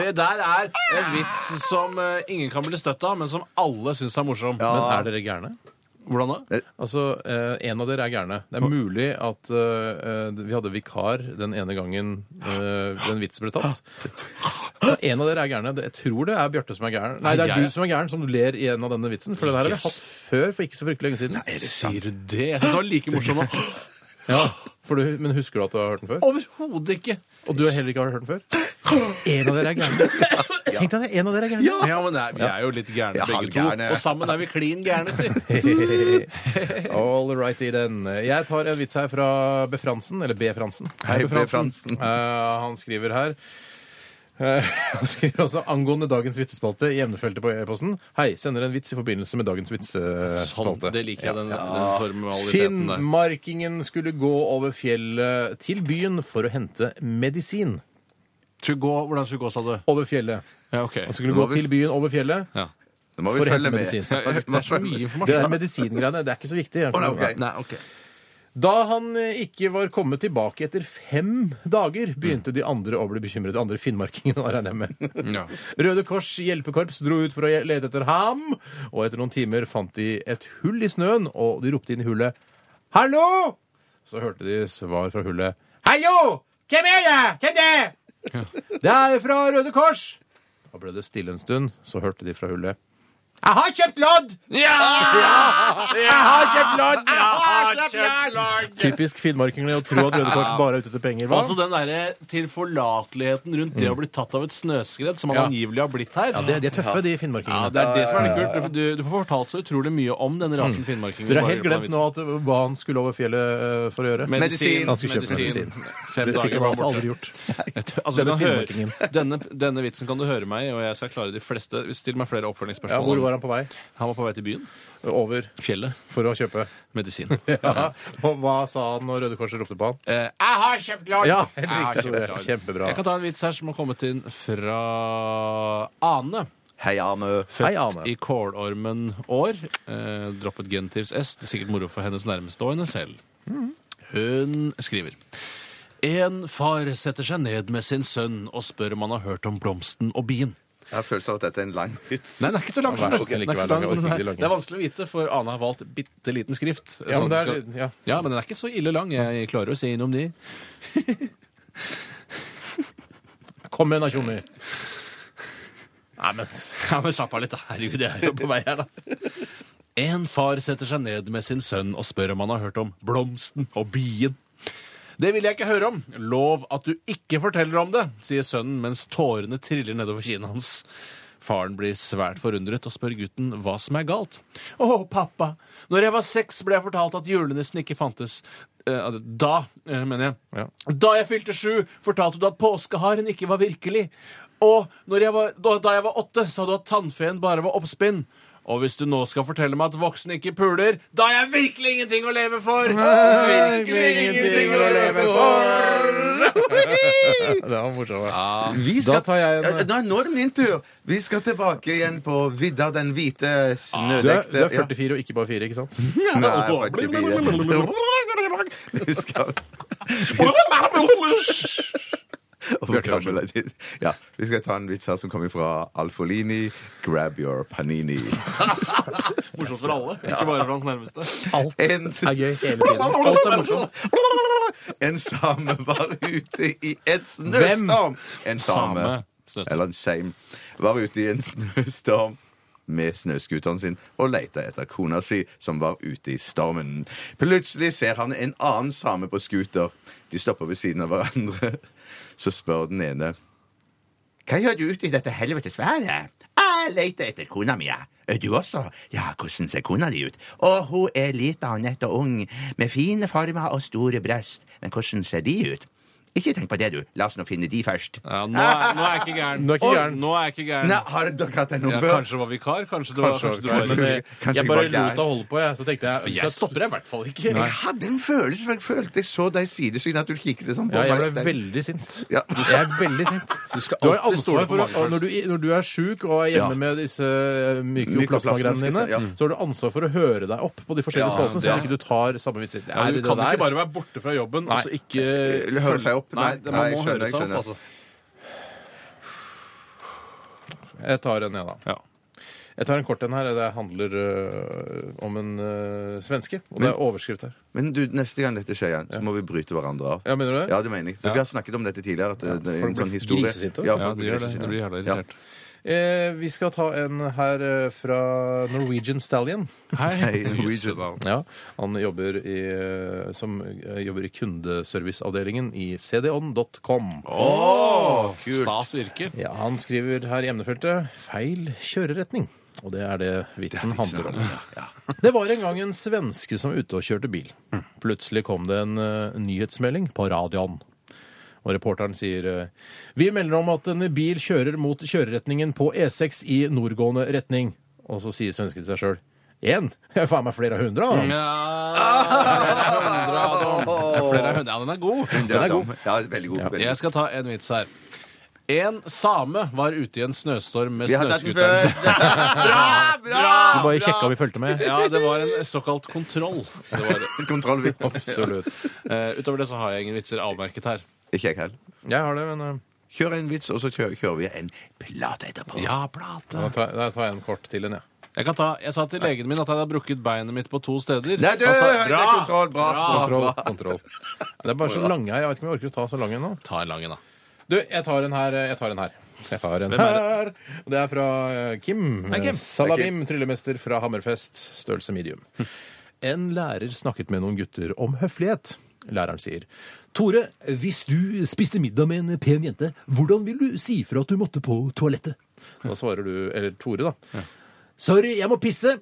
Det der er en vits som eh, ingen kan bli støtt av, men som alle syns er morsom. Men er dere gærne? Hvordan da? Altså, eh, en av dere er gærne. Det er mulig at eh, eh, vi hadde vikar den ene gangen eh, den vitsen ble tatt. Ja, En av dere er gærne. Det- Jeg tror det er Bjarte som er gæren. Nei, det Nei, er jeg- du som er gæren som du ler i en av denne vitsen. For den her har vi hatt før for ikke så fryktelig lenge siden. Sier du det? Jeg syns det var like morsom nå. Ja, for du, Men husker du at du har hørt den før? Overhodet ikke. Og du har heller ikke har hørt den før? En av dere er gærne. Tenk deg det. En av dere er gærne. Ja, men nei, vi er jo litt gærne Ja, begge gærne. to. Og sammen er vi klin gærne, si. All righty then. Jeg tar en vits her fra B. Fransen. Eller B. Fransen. Hei, B. Fransen. Eh, han skriver her eh, han skriver også angående dagens vitsespalte i emnefeltet på e-posten. Hei, sender en vits i forbindelse med dagens Sånn, vitsespalte. det liker jeg, den, den formaliteten der. Finnmarkingen skulle gå over fjellet til byen for å hente medisin. Skulle gå, hvordan skulle gå, sa du? Over fjellet. Ja, ok. Han skulle gå til byen over fjellet. Ja. Nå må vi For å hente følge med. medisin. Det er så mye Det informasjon. er medisingreiene. Det er ikke så viktig. Å, nei, ok. Nei, ok. Da han eh, ikke var kommet tilbake etter fem dager, begynte de andre å bli bekymret. De andre finnmarkingene, da regner jeg med. Ja. Røde Kors hjelpekorps dro ut for å lete etter ham, og etter noen timer fant de et hull i snøen, og de ropte inn i hullet 'Hallo!' Så hørte de svar fra hullet 'Hallo! Hvem er det? Hvem det er?' 'Det er fra Røde Kors'. Da ble det stille en stund, så hørte de fra hullet 'Jeg har kjøpt lodd!' Jeg har kjøpt lodd! Typisk finnmarkingene å tro at Røde Kors bare er ute etter penger. Hva? Altså den derre tilforlateligheten rundt det å bli tatt av et snøskred, som han Ja. angivelig har blitt her. ja, de, de er tøffe, de Ja, Mm. finnmarkingene. det er det som er litt kult. Du, du får fortalt så utrolig mye om den rasen finnmarkinger. Dere har helt glemt nå at, hva han skulle over fjellet eh, for å gjøre. Medisin. Han skulle kjøpe medisin. medisin. Fem Det fikk dager han var altså borte. aldri gjort. Altså, Denne du kan høre, finnmarkingen. denne, denne vitsen kan du høre meg, og jeg skal klare de fleste. Still meg flere oppfølgingsspørsmål. Ja, hvor var han på vei? Han var på vei til byen. Over Fjellet. for å kjøpe. Medisin. Ja. Og hva sa han når Røde Kors ropte på han? Eh, jeg har kjøpt lag! Ja, Jeg helt har riktig. kjøpt Tore. lag. Kjempebra. Jeg kan ta en vits her som har kommet inn fra Ane. Hei, Arne. Hei, Ane. I kålormen år. Eh, droppet genitivs S. Det er sikkert moro for hennes nærmeste og henne selv. Hun skriver En far setter seg ned med sin sønn og spør om han har hørt om blomsten og bien. Jeg har følelsen av at dette er en lang vits. Nei, den er ikke så lang. Ja, som vær så den. snill, ikke Den er ikke vær lang. så Jeg orker ikke de lang, men den er- lange. Det er vanskelig å vite, for Ane har valgt bitte liten skrift. Ja, Sånn men det skal- er, ja. ja, men den er ikke så ille lang. Jeg klarer å se innom de. Kom igjen, da, tjommi. Nei, men, ja, men slapp av litt. Herregud, jeg er jo på vei her, da. En far setter seg ned med sin sønn og spør om han har hørt om blomsten og bien. Det vil jeg ikke høre om. Lov at du ikke forteller om det, sier sønnen mens tårene triller nedover kinnet hans. Faren blir svært forundret og spør gutten hva som er galt. Å, pappa, når jeg var seks, ble jeg fortalt at julenissen ikke fantes. Eh, Da, eh, mener jeg. Da jeg fylte sju, fortalte du at påskeharen ikke var virkelig. Og når jeg var, da- da jeg var åtte, sa du at tannfeen bare var oppspinn. Og hvis du nå skal fortelle meg at voksne ikke puler, da har jeg virkelig ingenting å leve for! Virkelig ingenting å leve for! Det var morsomt. Da tar jeg en Eh, Nå, nå er det min tur. Vi skal tilbake igjen på vidda, den hvite du Ah, er, du snødekte er 44 og ikke bare 4, ikke sant? Ja. Nei, jeg er 44. Vi skal Hvor gammel er de? Ja, vi skal ta en vits her som kommer fra Alfolini. Grab your panini. Morsomt for alle, ikke bare for hans nærmeste. Alt En, er gøy hele tiden. Alt er morsomt. en same var ute i et Hvem? snøstorm. En same. Same. Eller en seim. Var ute i en snøstorm med snøskuteren sin og leita etter kona si, som var ute i stormen. Plutselig ser han en annen same på scooter. De stopper ved siden av hverandre. Så spør den ene Hva gjør du ute i dette helvetes været? Jeg leter etter kona mi. jeg. «Er Du også? Ja, hvordan ser kona di ut? Å, hun er lita og nett og ung, med fine former og store bryst. Men hvordan ser de ut? Ikke tenk på det, du. La oss nå finne de først. Ja, nå, er, nå er jeg ikke gæren. Nå er jeg ikke Oi, gæren. Nå er jeg ikke gæren. Nei, har dere hatt en Ja, nummer? kanskje du var vikar? Kanskje du var, Kanskje, kanskje du var men kanskje- eh, kanskje jeg vi bare bare lot er. det holde på, jeg. Så tenkte jeg Jeg jeg stopper jeg i hvert fall ikke. Jeg hadde en følelse, for jeg følte jeg så deg i sidesynet at du kikket sånn på Ja, jeg meg. ble veldig sint. Ja. Jeg er veldig sint. Du skal har alltid ansvar stole på for å, magefølelsen. og når, du, når du er sjuk og er hjemme med disse mykoplasmagreiene dine, Mykoplasma, ja. så har du ansvar for å høre deg opp på de Ja, forskjellige spaltene, så det- at ikke du tar samme vitser. Det Ja, er du det kan der. ikke bare være borte fra jobben og så ikke Eller høre seg opp. Nei, Nei, nei, det- man må jeg skjønner, høre seg jeg opp, altså. Jeg tar en, jeg, da. Ja. Jeg tar en kort en her. Det handler øh, om en øh, svenske. Og det er overskrift her. Men du, neste gang dette skjer igjen, så må vi bryte hverandre av. Ja, mener du det? Ja, det mener jeg. For Vi har snakket om dette tidligere. At det, det er folk en sånn blir historie. grisesinte også. Ja, Ja, folk de blir gjør det. grisesinte. Jeg blir jævla Ja. irritert. Eh, vi skal ta en her eh, fra Norwegian Stallion. Hei, Norwegian. Jøssedal. Ja, Han jobber i, eh, som, eh, jobber i kundeserviceavdelingen i cdon.com. Stas virke. Ja, han skriver her i emnefeltet 'feil kjøreretning'. Og det er det vitsen handler om. Det var en gang en svenske som var ute og kjørte bil. Plutselig kom det en eh, nyhetsmelding på radioen. Og reporteren sier eh, Vi melder om at en bil kjører mot kjøreretningen på E6 i nordgående retning. Og så sier svensken til seg sjøl Én? Jeg er faen meg flere hundre, Mm, da. Flere hundre. Ja, den er god. Den er god. Ja, veldig god. Veldig. Jeg skal ta en vits her. En same var ute i en snøstorm med Vi hadde hatt den snøskuteren. før. Bra, bra! Du bare bra. sjekka vi fulgte med. Ja, det var en såkalt kontroll. Det var det. Kontrollvits. Absolutt. Eh, utover det så har jeg ingen vitser avmerket her. Ikke jeg heller. Jeg har det, men eh, Kjør en vits, og så kjører, kjører vi en plate etterpå. Ja, plate. da tar jeg- da tar jeg en kort til en, jeg. Jeg, kan ta, jeg sa til legen min at jeg hadde brukket beinet mitt på to steder. Nei, du, Han sa, det er kontroll. Bra. bra. Kontroll. kontroll. Det er bare så lange her. Jeg vet ikke om jeg orker å ta så lange nå. Ta en lang en, da. Du, jeg tar en her. Jeg tar en her. Jeg tar en Hvem er det? her. Og det er fra eh, Kim. Hei, Kim. Salabim, tryllemester fra Hammerfest. Størrelse medium. En lærer snakket med noen gutter om høflighet. Læreren sier Tore, hvis du spiste middag med en pen jente, hvordan vil du si fra at du måtte på toalettet? Da svarer du, eller Tore, da. Sorry, jeg må pisse.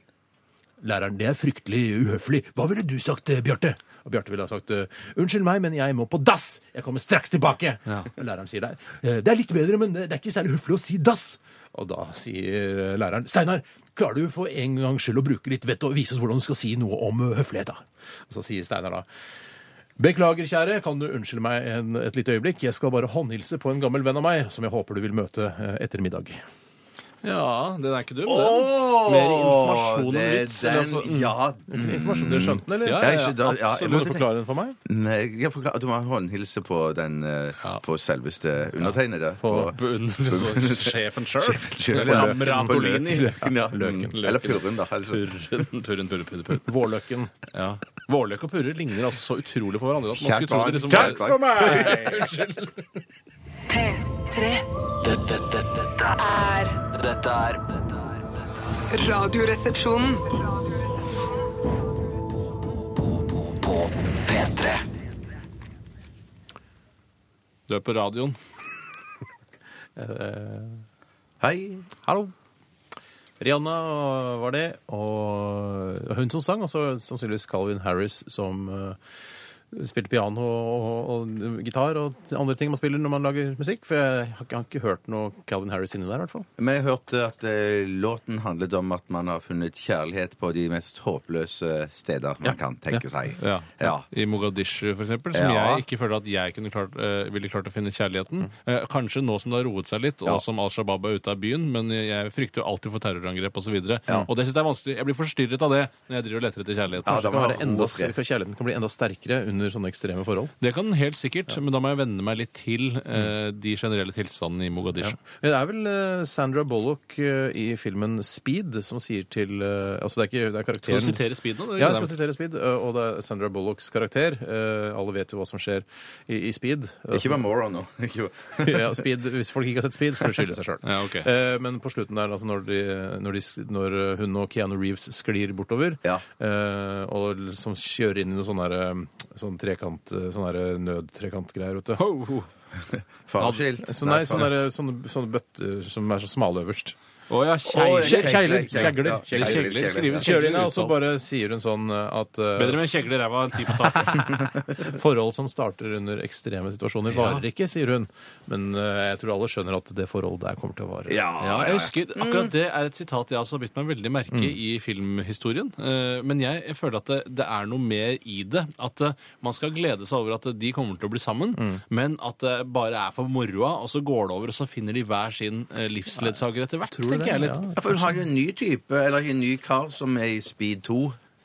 Læreren, det er fryktelig uhøflig. Hva ville du sagt, eh, Bjarte? Og Bjarte ville ha sagt eh, unnskyld meg, men jeg må på dass. Jeg kommer straks tilbake. Og Læreren sier der «Eh, det er litt bedre, men det er ikke særlig høflig å si dass. Og da sier eh, læreren Steinar, klarer du for en gangs skyld å bruke litt vett og vise oss hvordan du skal si noe om eh, høflighet, da? Og så sier Steinar da Beklager, kjære, kan du unnskylde meg en, et lite øyeblikk? Jeg skal bare håndhilse på en gammel venn av meg, som jeg håper du vil møte eh, etter middag. Ja, den er ikke dum, den. Åh, Mer informasjon det enn er vits. eller den- altså- Ja. Informasjon, Dere skjønte den, eller? Ja, Jeg er ikke da- ja, altså, jeg Absolutt. må Vil du forklare den for meg? Nei, jeg forklarer, du må håndhilse på den eh, På selveste undertegnede. På- Beundrer altså, sjefen sjøl. Kjøl, ja. Samra På lø- Polini. Løken, ja. Løken, Mm. Eller purren, da. Altså. Turren, turren, turren, turren, turren. Vårløkken. Ja. Vårløk og purre ligner altså så utrolig på hverandre at man skulle tro barn. det liksom Kjært var- barn. P3 Dette, dette, dette, er dette er dette er- Radioresepsjonen. på P3. Du er på radioen. Hei. Eh, Hallo. Rihanna eh, var det, og hun som sang, og så sannsynligvis Calvin Harris som eh, spilte piano og, og, og gitar og andre ting man spiller når man lager musikk. For jeg har, ikke- har ikke hørt noe Calvin Harris inni der, i hvert fall. Men jeg hørte at eh, låten handlet om at man har funnet kjærlighet på de mest håpløse steder man kan tenke seg. Ja. I Mogadishu, for eksempel, som Ja. jeg ikke føler at jeg kunne klart, eh, ville klart å finne Mm. kjærligheten. Eh, kanskje nå som det har roet seg litt, og Ja. som Al Shabaab er ute av byen, men jeg frykter jo alltid for terrorangrep osv. videre Og det synes jeg er vanskelig. Jeg blir forstyrret av det når jeg driver og leter etter Ja, kjærligheten. da Kanskje må kan være jeg enda, roe fred. kjærligheten kan bli enda sterkere under sånne ekstreme forhold. Det kan den helt sikkert, men da må jeg venne meg litt til eh, Mm. de generelle tilstandene i Mogadishu. Men Det er vel eh, Sandra Bullock eh, i filmen Speed som sier til eh, Altså, det er ikke det er Skal karakteren du sitere Speed nå? Ja, jeg skal sitere Speed, eh, og det er Sandra Bullocks karakter. Eh, Alle vet jo hva som skjer i, i Speed. Ikke vær moron nå. Ikke vær- ja, speed, hvis folk ikke har sett Speed, så får de skylde seg sjøl. Ja, ok. Men på slutten der, altså når, de, når, de, når eh, hun og Keanu Reeves sklir bortover, Ja. eh, og som kjører inn i noe sånn der, eh, sånn trekant, eh, sånn der nødtrekantgreier, vet du. Ho, ho. Fareskilt. Så nei, sånne, der, sånne, sånne bøtter eh, som er så smale øverst. Å ja, Å, kjegler. ja, Kjegler. kjegler, Kjegler. ja. Kjegler. Kjegler, Kjegler skrives Kjører inn, ja, altså, og så bare sier hun sånn eh, at eh, Bedre med kjegler i ræva enn ti på taket. forhold som starter under ekstreme situasjoner, varer ikke, sier hun. Men eh, jeg tror alle skjønner at det forholdet der kommer til å vare. Ja, Ja, jeg husker, Akkurat det er et sitat jeg også har bitt meg veldig merke Mm. i filmhistorien. Eh, Men jeg, jeg føler at det, det er noe mer i det. At eh, man skal glede seg over at eh, de kommer til å bli sammen, Mm. men at det bare er for moroa, og så går det over, og så finner de hver sin eh, livsledsager etter hvert. tenker jeg litt. Ja, for hun har jo en ny type, eller en ny kar, som er i Speed 2.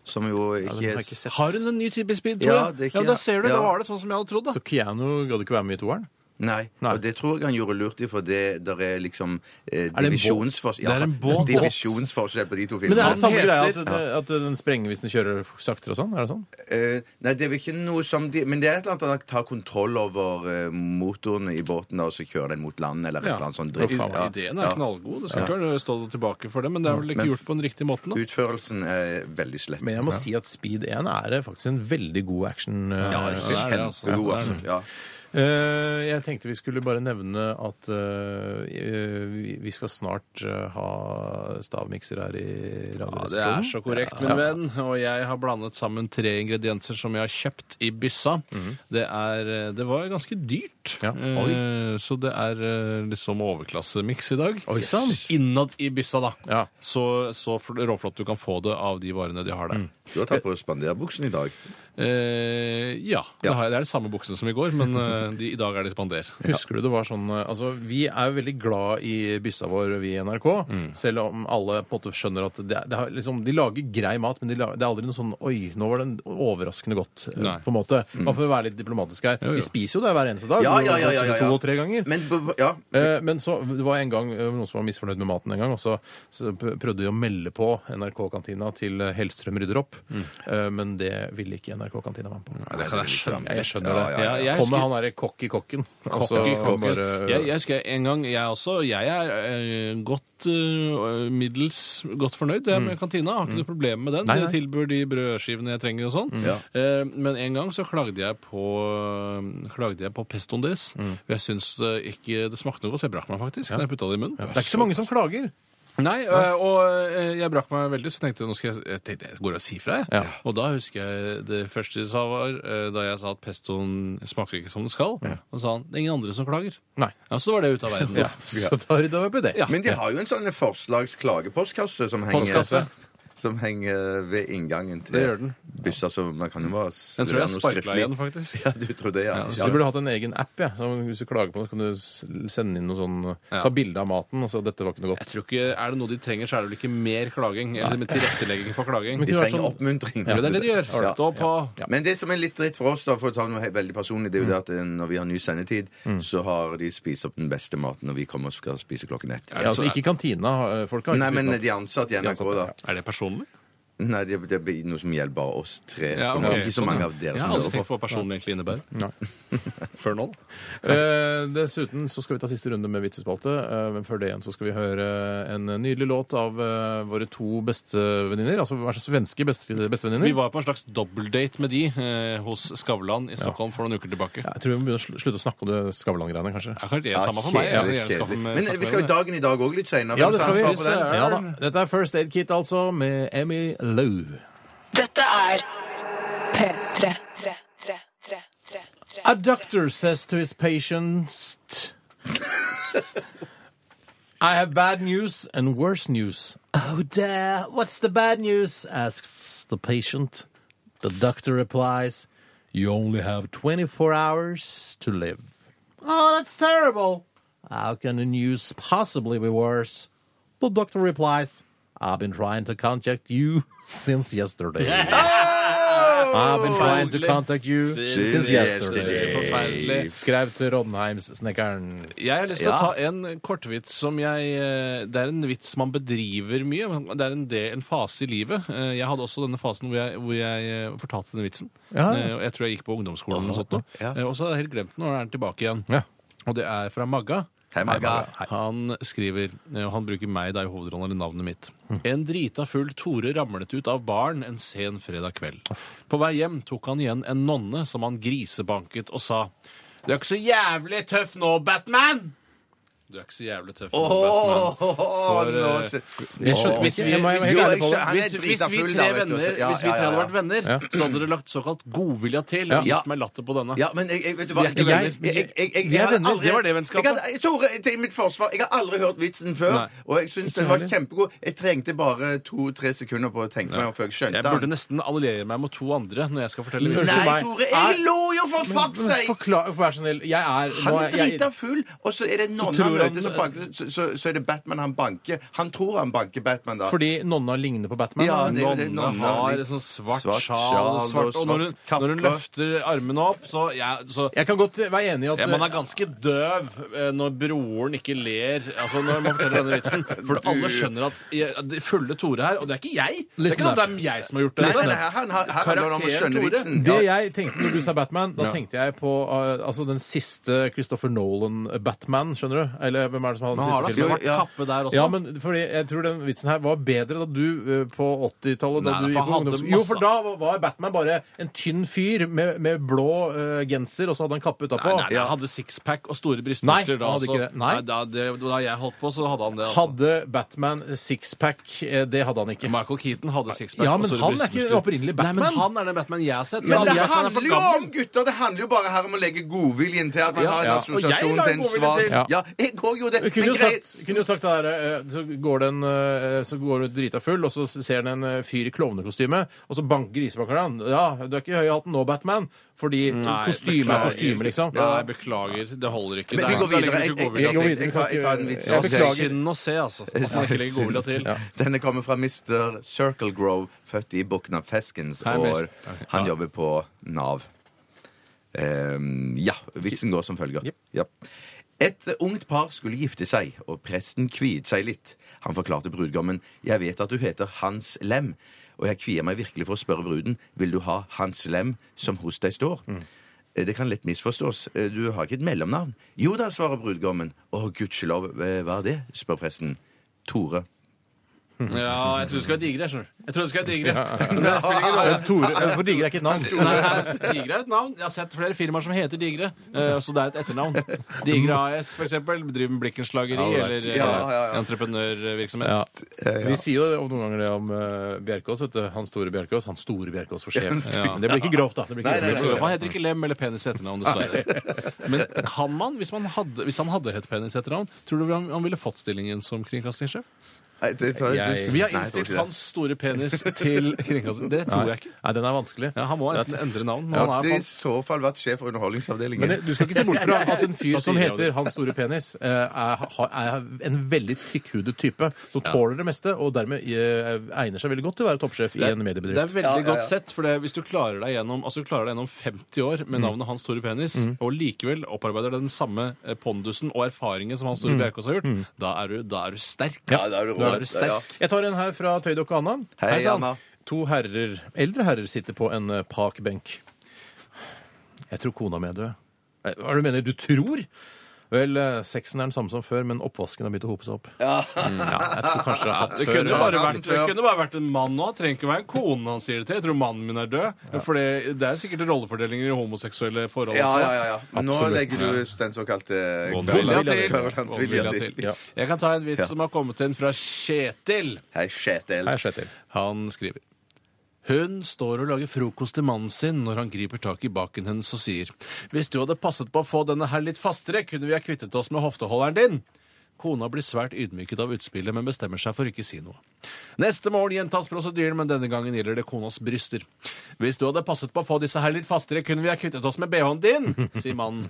Som jo ikke, den har jeg ikke sett. Har hun en ny type speed, tror Ja, jeg? det er ikke- ja, da ser du, ja. da var det sånn som jeg hadde trodd, da. Så Keanu gadd ikke være med i toeren? Nei. Nei. og det tror jeg han gjorde lurt i, for det der er liksom eh, en båt? divisjonsforskjell Det er en båt. Divisjonsforskjell på de to Men filmene. det er det samme heter- greia at, at eh, den sprenger hvis den kjører saktere og sånn? Er det sånn? Eh, nei, det er vel ikke noe som de, Men det er et eller annet at han tar kontroll over eh, motoren i båten, da, og så kjører den mot land, eller et eller annet sånt dritt. Faen, Ja. Ideen er Ja. knallgod. Det skal ikke være stå tilbake for det, men det er vel ikke Men- gjort på den riktige måten. da. Utførelsen er veldig slett. Men jeg må si at Speed 1 er faktisk en veldig god action. eh, Ja, det er det, altså. God, Ja, det er altså. det. Ja. eh, jeg tenkte vi skulle bare nevne at eh, vi- vi skal snart eh, ha stavmikser her i Ja, det er Radioresepsjonen. så korrekt, min venn. Og jeg har blandet sammen tre ingredienser som jeg har kjøpt i byssa. Det, er, eh, det var ganske dyrt, Ja. Eh, så det er eh, liksom overklassemiks i dag. Oi, sann. Innad i byssa, da. Ja. Så, så fl- råflott du kan få det av de varene de har der. Du har tatt på spanderbuksen i dag. Eh, ja, Det, har, jeg- det er de samme buksene som i går, men eh, de, i dag er de spander. Husker du det var sånn eh, Altså, vi er jo veldig glad i byssa vår, vi i NRK. Mm. Selv om alle på en måte skjønner at det, er- det har, liksom, de lager grei mat, men de la- det er aldri noe sånn Oi, nå var den overraskende godt, eh, Nei. på en måte. Bare for å være litt diplomatisk her. jo. Vi spiser jo det hver eneste dag. Mm. Ja, ja, ja, ja, ja, ja. To og tre ganger. Men b- b- ja, Eh, Men så, det var en gang eh, noen som var misfornøyd med maten en gang, og så så p- prøvde de å melde på NRK-kantina til eh, Hellstrøm rydder opp, Eh, men det ville ikke NRK-kantina være med på. Mm. det kan jeg skjønne. Jeg skjønner det. Ja, jeg Kom med husker- han derre kokk i kokken. og Kokk så i kokken. bare- jeg, jeg husker en gang jeg også Jeg er eh, godt eh, middels godt fornøyd jeg, med kantina. Har ikke noe problem med den. Mm. Nei, Mm. nei. De tilbyr de brødskivene jeg trenger og sånn. Eh, men en gang så klagde jeg på eh, Klagde jeg på pestoen deres. Mm. Og jeg syns eh, ikke det smakte noe godt, så jeg brakk meg faktisk. Da jeg putta det i munnen. Det er ikke så mange som klager. Nei, øh, og øh, jeg brakk meg veldig, så tenkte jeg nå skal jeg, jeg, tenkte, jeg går og sier fra. jeg. Ja. Og da husker jeg det første de sa, var øh, da jeg sa at pestoen smaker ikke som den skal. Og sa han det er ingen andre som klager. Nei. Ja, Så var det ute av verden. Ja, så da rydder vi opp i det. Ja. men de har jo en sånn forslagsklagepostkasse som henger Postkasse. Som henger ved inngangen til Det gjør den. byssa, så man kan jo bare Den tror jeg noe sparka skriftlig. igjen, faktisk. Ja, du tror det, ja. Ja, Så du burde hatt en egen app. Ja. Så hvis du klager på noe, så kan du s- sende inn noe sånn Ja. Ta bilde av maten og så 'dette var ikke noe Jeg godt'. tror ikke, Er det noe de trenger, så er det vel ikke mer klaging. Eller med tilrettelegging for klaging. Men De kunne vært trenger sånn- oppmuntring. Ja, det er det de gjør. Ja. Stå på. Men det som er litt dritt for oss, da, for å ta noe he- veldig personlig, det er jo det Mm. at eh, når vi har ny sendetid, så har de spist opp den beste maten, og vi kommer og skal spise klokken ett. Ja, altså ikke i kantina. Folk har ikke Nei, spist men noe. de ansatte i De NRK, ansatte, da. Er det personlig? Nei, det, det blir noe som gjelder bare oss tre. Ja, Det er ok, Ikke så sånn, mange ja. av dere Jeg som har aldri hører tenkt på. på hva personlig egentlig innebærer. Før nå. Eh, dessuten så skal vi ta siste runde med vitsespalte, eh, men før det igjen så skal vi høre en nydelig låt av eh, våre to bestevenninner. Altså hver svenske beste- bestevenninner. Vi var på en slags dobbeltdate med de eh, hos Skavlan i Stockholm for noen uker tilbake. Ja, jeg tror vi må begynne å sl- slutte å snakke om det Skavlan-greiene, kanskje. Ja, kanskje det er samme for meg. Ja, Jeg vil det er gjerne skaffe kjedelig. meg- Men skaffe vi skal meg jo dagen i dag òg litt seinere. Ja, det skal vi. ansvar for den? Ja, da. Dette er First Aid Kit, altså, med Emmy Lou. Dette er P3. A doctor says to his patients, I have bad news and worse news. Oh, dear, what's the bad news? asks the patient. The doctor replies, You only have 24 hours to live. Oh, that's terrible. How can the news possibly be worse? The doctor replies, I've been trying to contact you since yesterday. I've been trying to contact you Since since yesterday. yesterday. Forferdelig. Skrev til Rondheimssnekkeren. Jeg har lyst til å ta en kortvits som jeg eh, Det er en vits man bedriver mye. men Det er en, del, en fase i livet. Eh, Jeg hadde også denne fasen hvor jeg, hvor jeg eh, fortalte denne vitsen. Ja. Eh, og Jeg tror jeg gikk på ungdomsskolen eller noe sånt. nå. Ja. Eh, Og så har jeg helt glemt den, og nå er den tilbake igjen. Ja. Og det er fra Magga. Hei, Magga. Han skriver, eh, og han bruker meg da i hovedrollen, eller navnet mitt. Mm. En drita full Tore ramlet ut av baren en sen fredag kveld. På vei hjem tok han igjen en nonne som han grisebanket og sa Du er ikke så jævlig tøff nå, Batman! Du er ikke så jævlig tøff nå, Batman. Åh, nå eh, skj- Jeg skjønner Hvis vi, ikke. Jeg må- jeg må helt jo, ærlig på det. jeg skjønner- hvis, hvis, vi Han er drita full da, tre vet du, venner, så- ja, hvis vi ja, tre ja, hadde ja. vært venner, Ja. så hadde det lagt såkalt godvilja til. Ja. og Gitt meg latter på denne. Ja, men jeg, jeg, vet du hva Vi er ikke jeg- venner. jeg- jeg- jeg- jeg- Vi er jeg har venner. aldri- Det var det vennskapet. Jeg hadde- Tore, til mitt forsvar, jeg har aldri hørt vitsen før, Nei. og jeg syns den var kjempegod. Jeg trengte bare to-tre sekunder på å tenke meg om før jeg skjønte Jeg burde nesten alliere meg mot to andre når jeg skal fortelle vitsen. Nei, meg. Tore, jeg lo jo for fuck seg! Forklar, vær så snill. Jeg er Han nå er jeg- drita full, og så er det en nonne tror han han- møter, som banker, så, så, så er det Batman han banker. Han tror han banker Batman, da. Fordi nonna ligner på Batman. Ja, da. det- Nonne det- nonne har litt- sånn svart, svart sjal sjal og svart, og Og når hun, svart når hun kappe. løfter armene opp, så, jeg, så Jeg kan godt være enig i at ja, Man er ganske døv eh, når broren ikke ler altså når man forteller denne vitsen. For alle skjønner at jeg, det fulle Tore her Og det er ikke jeg! Det er Listen ikke noe, up. det er jeg som har gjort det. Nei, nei, nei, her, her, her, her handler det om å Karakteren, skjønne Tore. vitsen. Det Ja. jeg tenkte når du sa Batman, da tenkte jeg på uh, altså den siste Christopher Nolan-Batman, skjønner du? Eller hvem er det som hadde Man har den da siste filmen? svart kappe der også. Ja, men fordi jeg tror den vitsen her var bedre da du eh, på 80-tallet da Nei, du for gikk på han hadde ungdoms- Jo, masse- for da var- var Batman bare en tynn fyr med, med blå eh, genser, og så hadde han kappe Nei, utapå. nei, nei, han hadde sixpack og store Nei, brystmuskler han da. hadde altså. ikke det. Nei. da, det, da jeg holdt på, så hadde han det. altså. Hadde Batman sixpack? Eh, Det hadde han ikke. Michael Keaton hadde sixpack. Ja, og men store han er ikke brystmuskler. opprinnelig Nei, Batman. men han er den Batman jeg har sett. Men alle Det de jeg har sett er for handler jo gammel. om gutter! Det handler jo bare her om å legge godviljen til at man Ja, har en ja. Og jeg assosiasjon la til en godviljen svak til. Ja. Ja, jeg går jo det. Du kunne Men jo greit- sagt, kunne jo sagt det der, eh, så går det en eh, så går du drita full, og så ser han en eh, fyr i klovnekostyme, og så banker grisebankeren han. Ja, du er ikke høy i hatten nå, Batman, fordi kostyme er beklager. kostyme, liksom. Nei, beklager. Det holder ikke. Men Det vi er- går det ligger videre. ikke Jeg- godvilje jeg- går til. videre. jeg tar- jeg tar en vits. Jeg Det beklager. er synd å se, altså. At man ikke legger godvilja til. Denne kommer fra Mr. Circle Grove, født i Bukna Feskens Hei, mister. år. Han jobber på Nav. Ehm, ja, vitsen går som følger. Ja. Et ungt par skulle gifte seg, og presten kviet seg litt. Han forklarte brudgommen, 'Jeg vet at du heter Hans Lem', og jeg kvier meg virkelig for å spørre bruden, 'Vil du ha Hans Lem som hos deg står?' Mm. Eh, Det kan lett misforstås. Eh, Du har ikke et mellomnavn? Jo da, svarer brudgommen. Å, gudskjelov, eh, hva er det? spør presten. Tore. Ja, jeg tror det skal være digre, jeg skjønner du. Jeg tror det skal være digre. Eh, Tore, eh, for digre er ikke et navn. Nei, nei, digre er et navn. Jeg har sett flere firmaer som heter Digre, eh, så det er et etternavn. Digre AS, for eksempel, driver med blikkenslageri Ja, det er- eller eh, Ja, ja, ja. entreprenørvirksomhet. Ja. Eh, ja. Vi sier jo om noen ganger det om eh, Bjerkås, vet du. Han store Bjerkås. Han store Bjerkås for sjef. Ja. Men Det blir ikke grovt, da. Det blir ikke Så grovt. Han heter ikke Lem eller Penis i etternavn, dessverre. Men kan man, hvis, man hadde, hvis han hadde hett Penis i etternavn, tror du han, han ville fått stillingen som kringkastingssjef? Nei, det tar jeg, Jeg- Vi Nei, jeg har tror innstilt ikke det. hans store penis til kringkasting. Det tror jeg ikke. Nei, den er vanskelig. Ja, han må enten endre navn. Jeg Men han har er alltid i fan- så fall vært sjef for Underholdningsavdelingen. Men det- du skal ikke se bort fra at en fyr som Satire, heter Hans store penis, eh, er, har- er en veldig tykkhudet type som tåler det meste, og dermed eh, egner seg veldig godt til å være toppsjef i en det er mediebedrift. veldig godt sett, for det, hvis du klarer deg gjennom altså du klarer deg gjennom 50 år med navnet Hans Tore Penis, og likevel opparbeider den samme eh, pondusen og erfaringen som Hans Tore Bjerkås har gjort, da, er du, da er du sterk. Ja, da er du rå. sterk. Ja. Jeg tar en her fra Tøydokk og Anna. Hei, sann. Anna. To herrer, eldre herrer sitter på en eh, pakbenk. Jeg tror kona mi er død. Eh, Hva er det du mener? Du tror? Vel, eh, sexen er den samme som før, men oppvasken har begynt å hope seg opp. Mm, ja, jeg tror kanskje jeg har hatt Det før. kunne, jo bare Ja, vært, det ja. kunne bare vært en mann nå. Det trenger ikke være en kone han sier det til. Jeg tror mannen min er død. For det, det er sikkert rollefordelingen i homoseksuelle forhold. Ja, også. ja, ja, ja. Men Nå Absolutt. legger du den såkalte Vondvilja til. Kverulantvilja Vondvilja til. til. Jeg kan ta en vits Ja. som har kommet inn fra Kjetil. Hei, Kjetil. Nei, jeg slett til. Han skriver hun står og lager frokost til mannen sin når han griper tak i baken hennes og sier Hvis du hadde passet på å få denne her litt fastere, kunne vi ha kvittet oss med hofteholderen din. Kona blir svært ydmyket av utspillet, men bestemmer seg for ikke å si noe. Neste morgen gjentas prosedyren, men denne gangen gjelder det konas bryster. Hvis du hadde passet på å få disse her litt fastere, kunne vi ha kvittet oss med bh-en din, sier mannen.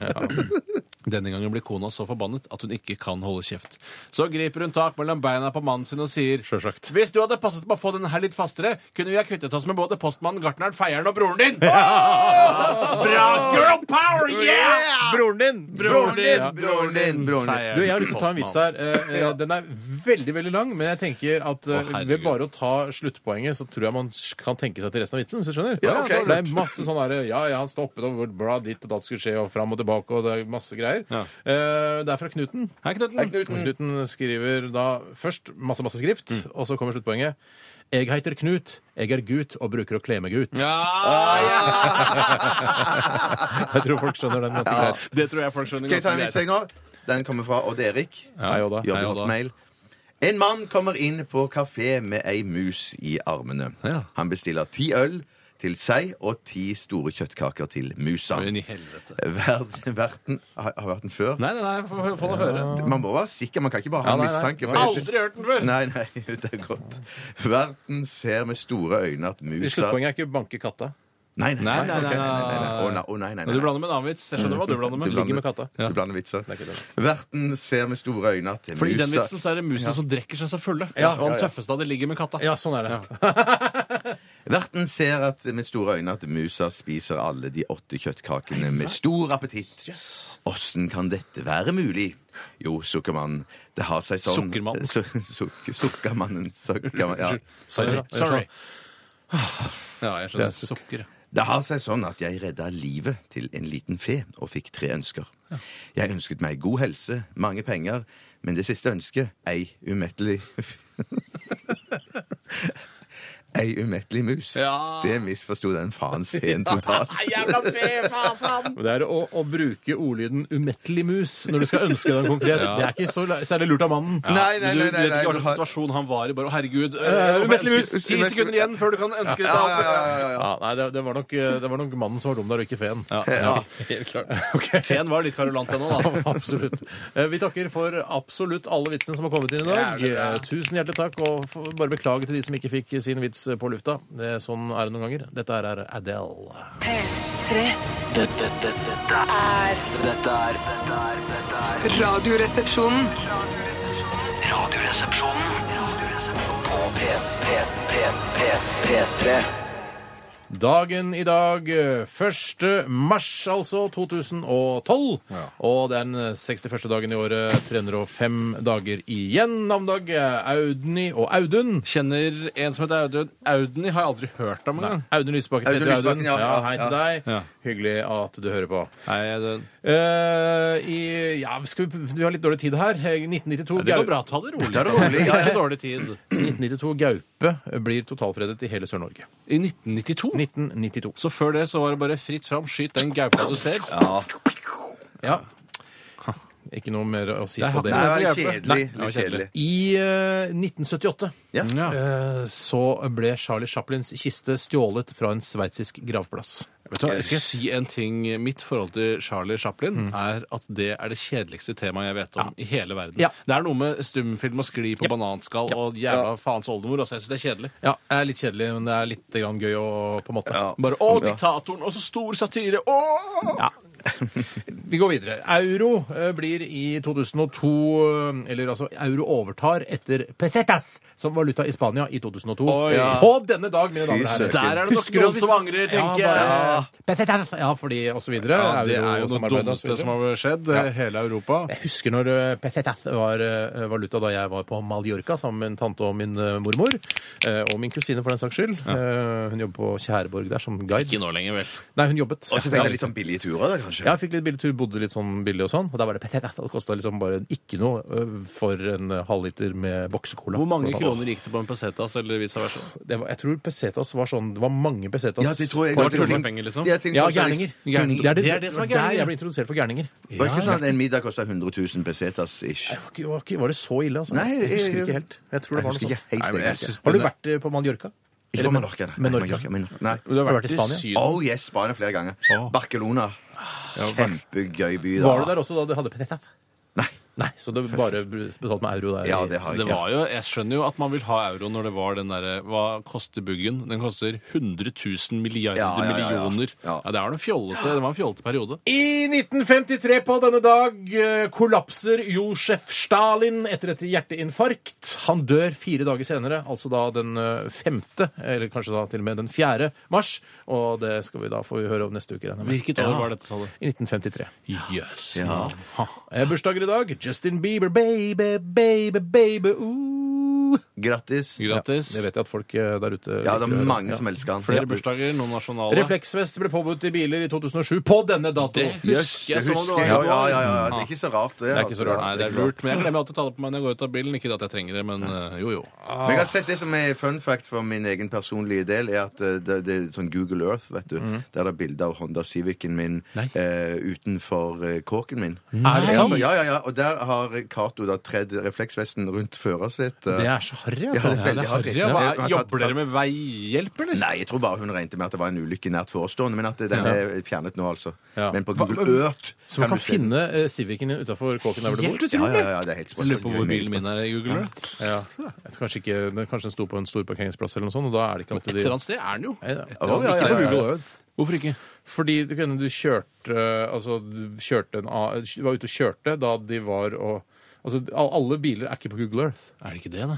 Denne gangen blir kona så forbannet at hun ikke kan holde kjeft. Så griper hun tak mellom beina på mannen sin og sier Sjølsagt. Hvis du hadde passet på å få den her litt fastere, kunne vi ha kvittet oss med både postmannen, gartneren, feieren og broren din. Bra girl power, yeah! Broren din! Broren din, Ja. broren din, broren din. Eh, Du, Jeg har lyst til å ta en vits her. Eh, eh, Den er veldig veldig lang, men jeg tenker at eh, Å, herregud. ved bare å ta sluttpoenget, så tror jeg man kan tenke seg til resten av vitsen. hvis du skjønner. Ja, ok, det er masse sånn derre Ja, ja, han stoppet, og hvor bra ditt og datt skulle skje, og fram og tilbake, og det er masse greier. Ja. Eh, Det er fra Knuten. Hei, Knuten. Mm. Knuten skriver da først masse, masse skrift, Mm. og så kommer sluttpoenget. Jeg heter Knut, jeg er gutt og bruker å kle meg ut. Ah, Ja, Jeg tror folk skjønner den ganske greit. Det tror jeg folk skjønner Skal jeg ta en ganske vits jeg greit. nå? Den kommer fra Odd-Erik. Hei, Jobber Odda. Hei, i Odda. Hotmail. En mann kommer inn på kafé med ei mus i armene. Ja. Han bestiller ti øl til seg og ti store kjøttkaker til musa. Men i helvete. Verden, verten, har har vært den før? Nei, nei, nei, få få det høre. Man må være sikker, man kan ikke bare ha Ja, nei, nei. mistanke. for ellers- Aldri hørt den før! Nei, nei, det er godt. Verten ser med store øyne at musa Sluttpoenget er ikke banke katta. Nei, nei, nei. Nei, nei, ok, nei, nei, nei, nei, nei. Å, nei, å, nei, nei, Men Du nei. blander med en annen vits. Jeg skjønner hva du blander med. Du blander- Ligge med katta. Du blander vitser. Det er ikke det. Verten ser med store øyne at Fordi i den musa vitsen så er det musen som drikker seg så fulle. Ja, og ja, den ja. tøffeste av det ligger med katta. Ja, sånn er det. Verten ser at, med store øyne at musa spiser alle de åtte kjøttkakene med stor appetitt. Åssen kan dette være mulig? Jo, sukkermann, det har seg sånn Sukkermann. Su suk sukkermannen, sukkermann, ja. Sorry. Sorry. Ja, Det er jeg skjønner. Sukker. ja. Det har seg sånn at jeg redda livet til en liten fe og fikk tre ønsker. Jeg ønsket meg god helse, mange penger, men det siste ønsket ei umettelig Ei umettelig mus. Ja. Det misforsto den faens feen totalt. Jævla fefasan! Det er å, å bruke ordlyden 'umettelig mus' når du skal ønske deg en konkret. Det er ikke så la- særlig lurt av mannen. Nei, nei, nei, du vet nei, nei, ikke hva du slags har- situasjon han var i. Bare, å, herregud, Eh, umettelig umettelig mus. mus! Ti sekunder igjen før du kan ønske deg Ja, ja, alt. ja, ja, ja. Ja, nei, det, det, var nok, eh, det var nok mannen som var dum der, og ikke feen. Helt klart. Ok. Feen var litt karolant ennå, da. Absolutt. Eh, Vi takker for absolutt alle vitsene som har kommet inn i dag. Jævlig bra. Eh, Tusen hjertelig takk, og f- bare beklage til de som ikke fikk sin vits på lufta. Det, er sånn er det noen ganger. Dette her er Adele. P3 Dette, dette, dette er er Dette er dette er- dette er Radioresepsjonen. Radioresepsjonen På P, P, P, P, P3 Dagen i dag, eh, 1. mars altså, 2012. Og det er den 61. dagen i året, 305 dager igjen. Navndag er Audny og Audun. Kjenner en som heter Audun. Audny har jeg aldri hørt om engang. Audun Lysbakken Audun heter Audun. Lysbakken, ja, Ja, ja, hei til deg. Ja. Hyggelig at du hører på. Nei, det, Eh, i, ja, skal vi, vi har litt dårlig tid her. 1992 det Gau- går bra. Ta det rolig. Ta det rolig, ja, Steffen. ja. Ikke dårlig tid. 1992 Gaupe blir totalfredet i hele Sør-Norge. I 1992? 1992. Så før det så var det bare fritt fram. Skyt den gaupa du ser. Ja. Ikke noe mer å si Jeg på har det. Nei, det ikke Nei, var det hjelper. kjedelig. Nei, Litt det var kjedelig. I eh, 1978 Ja. Ja. eh, så ble Charlie Chaplins kiste stjålet fra en sveitsisk gravplass. Vet du hva, skal jeg Mm. si en ting? Mitt forhold til Charlie Chaplin er at det er det kjedeligste temaet jeg vet om i hele verden. Ja. Det er noe med stumfilm og skli på bananskall og jævla faens oldemor. Altså, jeg syns det er kjedelig. Ja, det er litt kjedelig, men det er litt grann gøy og på en måte. Bare 'Å, diktatoren', og så stor satire! Å! Vi går videre. Euro eh, blir i 2002 eh, Eller altså, euro overtar etter pesetas som valuta i Spania i 2002. Oi. På denne dag, mine damer og søren. herrer. Der er det nok Husker du noen hvis- som angrer, tenker ja, bare, jeg. pesetas, ja, fordi og så videre. Ja, det er jo det Eurosamarbeidet og så dummeste videre. som har skjedd. Ja. eh, Hele Europa. Jeg husker når eh, pesetas var eh, valuta da jeg var på Mallorca sammen med en tante og min eh, mormor. eh, Og min kusine, for den saks skyld. Eh, Hun jobber på Tjæreborg der som guide. Ikke nå lenger, vel. Nei, hun jobbet. Og så fikk jeg litt sånn billige turer, da, kanskje. Ja, jeg fikk litt billig tur, bodde litt sånn billig og sånn. Og der var det pesetas. Det kosta liksom bare ikke noe ø, for en ø, halvliter med boksecola. Hvor mange kroner gikk det på en pesetas eller vice versa? Det var, jeg tror pesetas var sånn Det var mange pesetas. Ja, det tror jeg. Det var Jeg tror- tullepenger, liksom. Jeg tenkte Ja, også- gærninger. Gærninger. Det er det som var er gærninger. Der jeg ble introdusert for gærninger. Var det ikke sånn at en middag kosta 100 000 pesetas ish? Det var, ikke, var, ikke, var det så ille, altså? Nei, jeg husker jeg- ikke helt. Jeg tror det Jeg var husker noe ikke sånt. helt Nei, men jeg egentlig. synes Har du den er- vært ø, på Mallorca? Ikke på eh, Mallorca, nei. Menorca. Mallorca, Menorca, nei. Du har vært i Spania? Syden. Oh yes, Spania flere ganger. Barcelona. Kjempegøy by. da. Var du der også da du hadde pesetas? Nei. Nei, så det bare betalt med euro der. Ja, i- det har jeg Det ikke. var jo, jeg skjønner jo at man vil ha euro når det var den derre Hva koster buggen? Den koster 100 000 milliarder Ja, ja, ja, ja. millioner. Ja, Ja. det, er noe fjollete, det var en fjollete periode. I 1953 på denne dag eh, kollapser Josef Stalin etter et hjerteinfarkt. Han dør fire dager senere, altså da den eh, femte, eller kanskje da til og med den fjerde mars. Og det skal vi da få høre om neste uke. regner jeg med. Hvilket år var dette, sa du? I 1953. Jøss. Ja. Ha. Eh, Bursdager i dag. Justin Bieber, baby, baby, baby, ooh. Grattis. Grattis. Det vet jeg at folk eh, der ute Ja, det liker å er høre. mange Ja. som elsker han. Flere Ja. bursdager, noen nasjonale. Refleksvest ble påbudt i biler i 2007 på denne datoen. Det Jøss, Husker jeg det som om det husker jeg. var i Ja, ja, går. ja, ja. Det er ikke så rart. Det er ikke så rart. Nei, det er lurt, men jeg glemmer alltid å ta det på meg når jeg går ut av bilen. Ikke at jeg trenger det, men eh, jo, jo. Ah. Men jeg har sett det som er fun fact for min egen personlige del, er at eh, det, det er sånn Google Earth, vet du. Der er det bilde av Honda Civicen min Nei. eh, utenfor eh, kåken min. Er det Ja, sant? ja, ja, ja. Og der har Cato da tredd refleksvesten rundt førersetet. Det er så harry, Ja, altså. det er veldig harry. Ja, hva er, Ja, jobber dere med veihjelp, eller? Nei, jeg tror bare hun regnet med at det var en ulykke nært forestående, men at den er fjernet nå, altså. Ja. Men på Hva- Google hva- Earth Så man kan se den. finne eh, Civicen din utafor kåken der hvor du Helt bor? utrolig! Ja, ja, ja, det er helt Lurer på hvor bilen min er i Google Earth. Ja. Jeg tror Kanskje, ikke, den- kanskje den sto på en stor parkeringsplass, eller noe sånt, og da er det ikke Et alltid eller annet sted er den jo. Nei, det er- Ja, ja, Ikke på ja, ja. Google Earth. Hvorfor ikke? Fordi du, kunne- du kjørte eh, Altså, du kjørte en, a- du var ute og kjørte da de var og Altså, al- alle biler er ikke på Google Earth. Er det ikke det, da?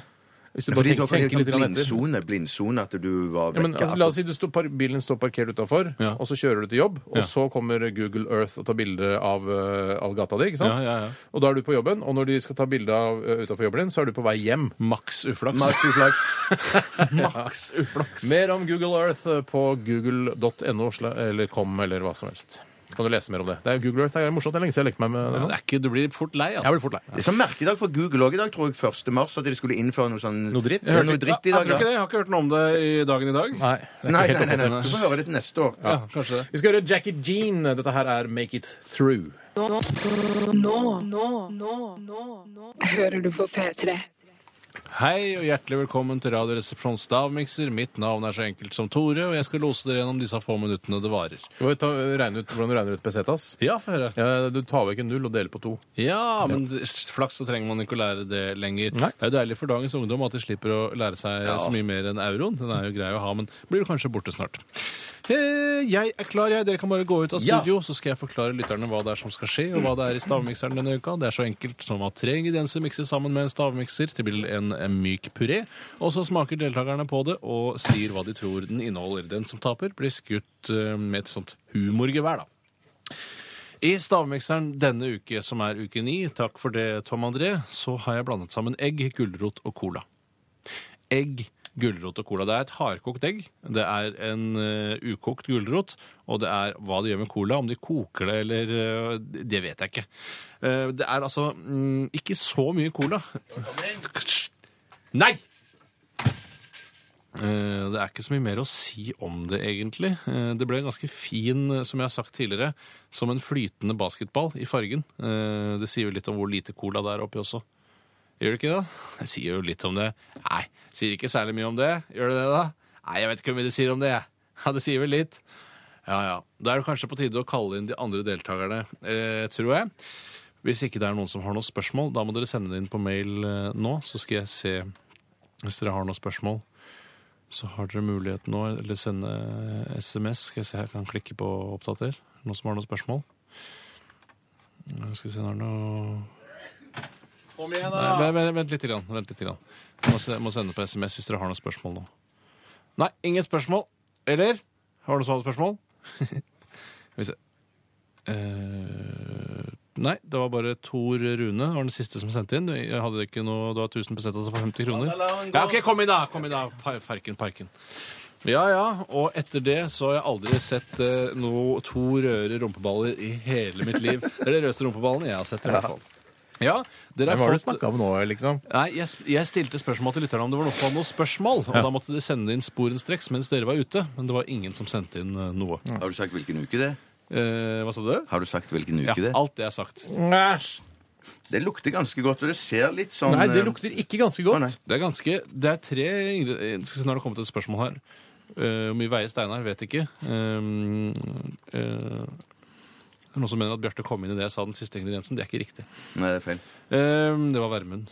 Hvis du Fordi bare du tenker, har fått tenker en litt grann etter. blindsone, blindsone at du var Ja, men, vekk. altså, la oss si du står, par- bilen står parkert utafor, Ja. og så kjører du til jobb, og Ja. så kommer Google Earth og tar bilde av, eh, av gata di. ikke sant? Ja, ja, ja. Og da er du på jobben, og når de skal ta bilde av eh, utenfor jobben din, så er du på vei hjem. Maks uflaks. Maks uflaks. Maks uflaks. Mer om Google Earth eh, på google.no sla- eller com eller hva som helst. Kan du lese mer om det? det er, Google Earth er morsomt. Det er lenge siden jeg lekte meg med det. Ja, nå. det er ikke, du blir fort lei, Jeg altså. blir fort lei. Det er sånn merkedag for Google òg i dag, tror jeg. 1. mars. At de skulle innføre noe sånn Noe dritt? Ja, noe dritt i dag, jeg tror ikke ja. det. Jeg har ikke hørt noe om det i dagen i dag. Nei, det er Nei, ikke nei, helt nei, oppdatert. nei. Du får høre det til neste år. Ja, kanskje det. Vi skal høre Jackie Jean. Dette her er Make It Through. Nå, nå, nå, nå, nå, nå. hører du på P3. Hei og hjertelig velkommen til Radioresepsjons stavmikser. Mitt navn er så enkelt som Tore, og jeg skal lose dere gjennom disse få minuttene det varer. Du må jo ta, regne ut hvordan du regner ut pesetas. Ja, få høre. Ja, du tar vekk en null og deler på to. Ja, men det- flaks så trenger man ikke å lære det lenger. Nei. Det er jo deilig for dagens ungdom at de slipper å lære seg så mye mer enn euroen. Den er jo grei å ha, men blir jo kanskje borte snart. Eh, jeg er klar, jeg. Dere kan bare gå ut av Ja. studio, så skal jeg forklare lytterne hva det er som skal skje, og hva det er i stavmikseren denne uka. Det er så enkelt som at tre ingredienser mikses sammen med en stavmikser til blir en, en myk puré, og så smaker deltakerne på det og sier hva de tror den inneholder. Den som taper, blir skutt eh, med et sånt humorgevær, da. I stavmikseren denne uke, som er uke ni, takk for det, Tom André, så har jeg blandet sammen egg, gulrot og cola. Egg, gulrot og cola. Det er et hardkokt egg, det er en eh, ukokt gulrot, og det er hva de gjør med cola, om de koker det eller eh, Det vet jeg ikke. Eh, det er altså mm, ikke så mye cola. Nei! Eh, Det er ikke så mye mer å si om det, egentlig. Eh, Det ble ganske fin, eh, som jeg har sagt tidligere, som en flytende basketball i fargen. Eh, Det sier jo litt om hvor lite cola det er oppi også. Gjør det ikke det? Det sier jo litt om det. Nei, sier ikke særlig mye om det. Gjør det det, da? Nei, jeg vet ikke hvor mye det sier om det, jeg. Ja, det sier vel litt. Ja, ja. Da er det kanskje på tide å kalle inn de andre deltakerne, eh, tror jeg. Hvis ikke det er noen som har noen spørsmål, da må dere sende det inn på mail eh, nå, så skal jeg se hvis dere har noen spørsmål så har dere mulighet nå, eller sende eh, SMS. Skal jeg se her, kan jeg klikke på oppdater. Noen som har noen spørsmål? Nå Skal vi se, nå er det noe Kom igjen, Nei, vent, vent, vent litt. Grann, vent litt grann. Jeg må, se, jeg må sende på SMS hvis dere har noen spørsmål nå. Nei, ingen spørsmål. Eller? Har du noen sånne spørsmål? Skal vi se. Eh, nei, det var bare Tor Rune. Det var den siste som sendte inn. Jeg hadde ikke noe, det var 1000 pesetas for 50 kroner. Ja, ok, kom inn da! Kom inn da, Pa- Farken Parken. Ja, ja, og etter det så har jeg aldri sett eh, noe, to røde rumpeballer i hele mitt liv. Det er de rødeste rumpeballene jeg har sett i hvert fall. Ja, dere Hvem har var det du fått... snakka om nå, liksom? Nei, jeg, jeg stilte spørsmål til lytterne om det var noen som hadde noen spørsmål. Og da måtte de sende inn sporenstreks mens dere var ute. Men det var ingen som sendte inn eh, noe. Har du sagt hvilken uke det er? Eh, hva sa du? Har du sagt hvilken uke Ja, det er? alt det er sagt. Æsj! Det lukter ganske godt, og det ser litt sånn Nei, det eh, lukter ikke ganske Å, nei. godt. Det er ganske Det er tre ingre- eh, Skal vi se når det kommer til et spørsmål her. Ehm, Eh, Hvor mye veier Steinar? Vet ikke. Eh, eh, er noen som mener at Bjarte kom inn i det jeg sa den siste ingrediensen. Det er ikke riktig. Nei, det er feil. Ehm, det var varmen.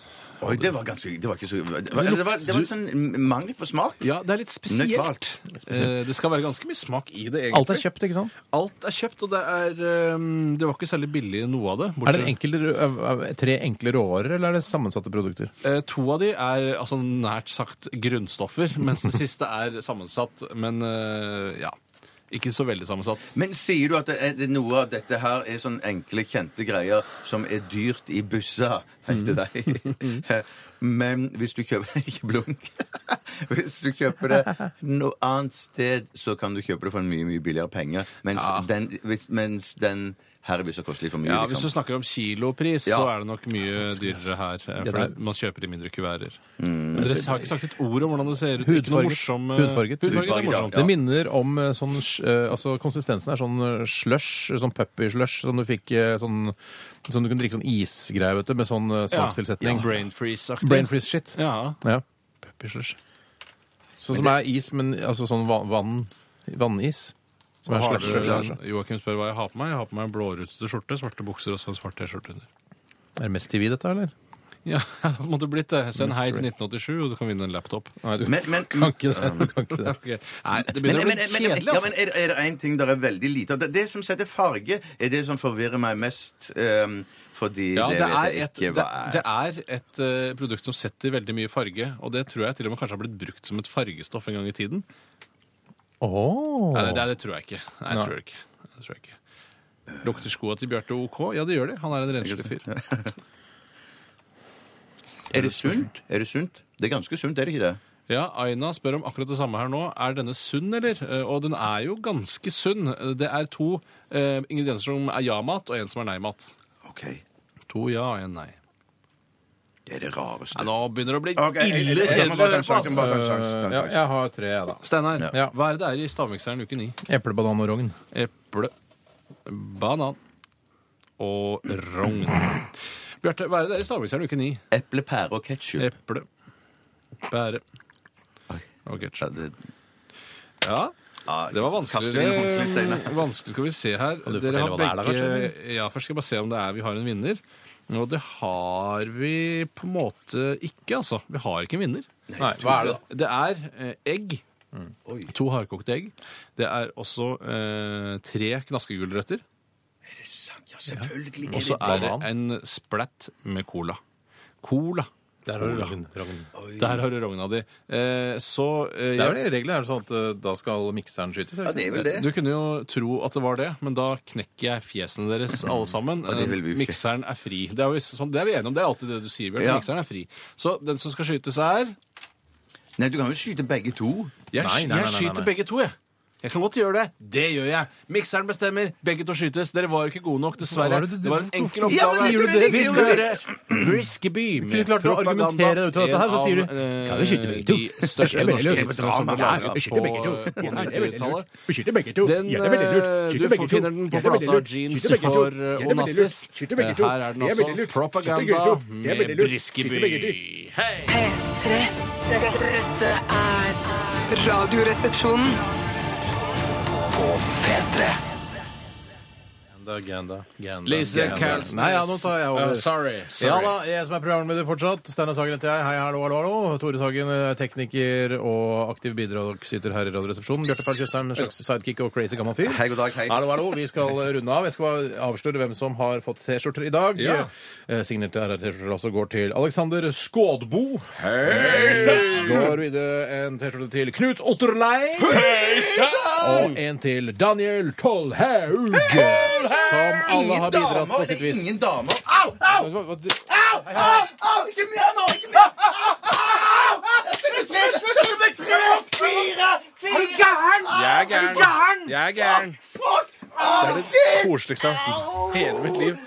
Oi, det var ganske Det var ikke så Det var, det var, det var, sånn mangel på smak. Ja, det er litt spesielt. Nøkvalt. Eh, det skal være ganske mye smak i det, egentlig. Alt er kjøpt, ikke sant? Alt er kjøpt, og det er ehm, Det var ikke særlig billig noe av det. bortsett- Er det enkle, ø- ø- tre enkle råvarer, eller er det sammensatte produkter? Eh, To av de er altså nært sagt grunnstoffer, mens den siste er sammensatt, men eh, ja. Ikke så veldig sammensatt. Men sier du at det er, det er noe av dette her er sånn enkle, kjente greier som er dyrt i busser? Hei til Mm. deg. Men hvis du kjøper Ikke blunk. Hvis du kjøper det noe annet sted, så kan du kjøpe det for en mye, mye billigere penger. Mens Ja. den, hvis, mens den her i busser koster litt for mye. Ja, Hvis du liksom. snakker om kilopris, Ja. så er det nok mye dyrere her. eh, Det For er- det- man kjøper i mindre kuverter. Men Dere har ikke sagt et ord om hvordan det ser ut. Ikke noe Hudfarget. morsom, eh, Hudfarget. Hudfarget er Hudfarget, ja. morsomt. Det minner om eh, sånn sj- eh, Altså, konsistensen er sånn eh, slush, sånn puppy-slush, som du fikk eh, sånn Som du kunne drikke sånn isgreie, vet du, med sånn eh, smakstilsetning. Ja, brain freeze-aktig. Brain freeze-shit. Ja. Ja. Puppy slush. Sånn som er is, men altså sånn va- vann Vannis. Som er altså? Har slush. dere- slush. Joakim spør hva jeg har på meg. Jeg har på meg en blårutete skjorte, svarte bukser og så en svart T-skjorte under. Er det mest TV, dette, eller? Ja, det måtte blitt det. Send hei til 1987, og du kan vinne en laptop. Nei, du Men, men, kan ikke det. Du kan ikke det. Ok. Nei, det Men, begynner men, å bli men, kjedelig, ja, altså. men er, er det én ting der er veldig lite av? Det, det som setter farge, er det som forvirrer meg mest. ehm, fordi Ja, det, vet det er jeg et, ikke det, hva det er et eh, produkt som setter veldig mye farge, og det tror jeg til og med kanskje har blitt brukt som et fargestoff en gang i tiden. Åh. Nei, det, det tror jeg ikke. Nei, jeg tror det ikke. Jeg tror jeg ikke. Lukter skoa til Bjarte OK? Ja, det gjør de. Han er en renslig fyr. Er det sunt? Er det sunt? Det er ganske sunt, er det ikke det? Ja, Aina spør om akkurat det samme her nå. Er denne sunn, eller? Eh, Og den er jo ganske sunn. Eh, Det er to eh, ingredienser som er ja-mat, og en som er nei-mat. OK. To ja og en nei. Det er det rareste. Nei, nå begynner det å bli Ok, jeg- jeg- jeg- ille jeg- jeg må kjedelig. bare ta en sjanse, Bjarte, jeg må bare ta en ass. sjanse, ta en Ja, sjanse. jeg har tre, jeg, da. Steinar, Ja. hva er det det er i Stavmikseren uke ni? Eple, banan og rogn. Eple, banan og rogn. Bjarte, hva er det det er i Stavmikseren uke ni? Eple, pære og ketsjup. Eple, bære og Ja, ketsjup. det, Ja, ja, det var Kaster du inn håndkleet, vanskeligere. Steinar? Vanskelig skal vi se her. du Dere har fortelle hva det er da, begge Ja, først skal jeg bare se om det er vi har en vinner. Og det har vi på en måte ikke, altså. Vi har ikke en vinner. Nei, hva er det, da? Mm. Det er eh, egg. To hardkokte egg. Det er også eh, tre knaskegulrøtter. Ja, selvfølgelig. Og så er det en splatt med cola. Cola. Der har du rogn. rogn. Der har du rogna di. Eh, så eh, Det er jeg- vel i regelen er det sånn at eh, da skal mikseren skytes? Ja, eller? det er vel det. Du kunne jo tro at det var det, men da knekker jeg fjesene deres alle sammen. det vil vi jo ikke. Mikseren er fri. Det er, jo sånn, det er vi enige om. Det er alltid det du sier, Bjørn. Ja. Mikseren er fri. Så den som skal skytes, er Nei, du kan jo skyte begge to. Jeg, Nei, nei, nei, jeg nei, skyter nei. begge to, jeg. Jeg kan godt gjøre det. Det gjør jeg. Mikseren bestemmer. Begge to skytes. Dere var jo ikke gode nok, dessverre. Hva var det du- Det var en enkel Hvorfor oppgave. sier du det? Vi skal gjøre Riskeby Kunne du klart å argumentere deg ut av dette her, så sier du, Kan «Kan du skyte begge to?» eh, De største Jeg er veldig norske lurt. hitsene som ble Ja, laga jeg skyter begge to. på- på Ja, det er veldig 90-tallet. lurt. Vi skyter begge to. Den, Ja, det er veldig lurt. eh, Skyter du begge to. finner den på Ja, det er veldig plata lurt. Jeans Skyter begge to. for, Ja, det eh, er veldig lurt. Onassis. Skyter begge to. Eh, her er den Det altså veldig lurt. propaganda Skyter begge to. Det er med veldig lurt. Briskeby. Skyter begge to. Hei! P3. Dette, dette er Radioresepsjonen. Ganda, ganda, ganda, Lise ganda. Carlsen. Nei, ja, nå tar jeg over. Uh, sorry. sorry. Ja da, jeg som er programleder fortsatt. Steinar Sagen heter jeg. Hei, hallo, hallo, hallo. Tore Sagen, eh, tekniker og aktiv bidragsyter her i Radioresepsjonen. Bjarte Paul Tjøstheim, en slags sidekick og crazy gammel fyr. Hei, god dag, hei. Hallo, hallo. Vi skal eh, runde av. Jeg skal bare avsløre hvem som har fått T-skjorter i dag. Ja. Eh, Signerte RR-T-skjorter også går til Alexander Skådbo. Hei sann! Går videre en T-skjorte til Knut Otterlei. Hei sann! Og en til Daniel Tollhaug. Som alle har bidratt Damer, på det sitt er vis. ingen damer. Au, au, Hva- hva- au! au! Ikke mer nå! Ikke mer! Au, au, au! Jeg skal bli tre! Jeg skal bli tre! Fire! Fire! Er du gæren? Jeg er Er du gæren? gæren. Jeg er gæren. Fuck! Ah, Au, shit! koseligste jeg har hørt i hele mitt liv.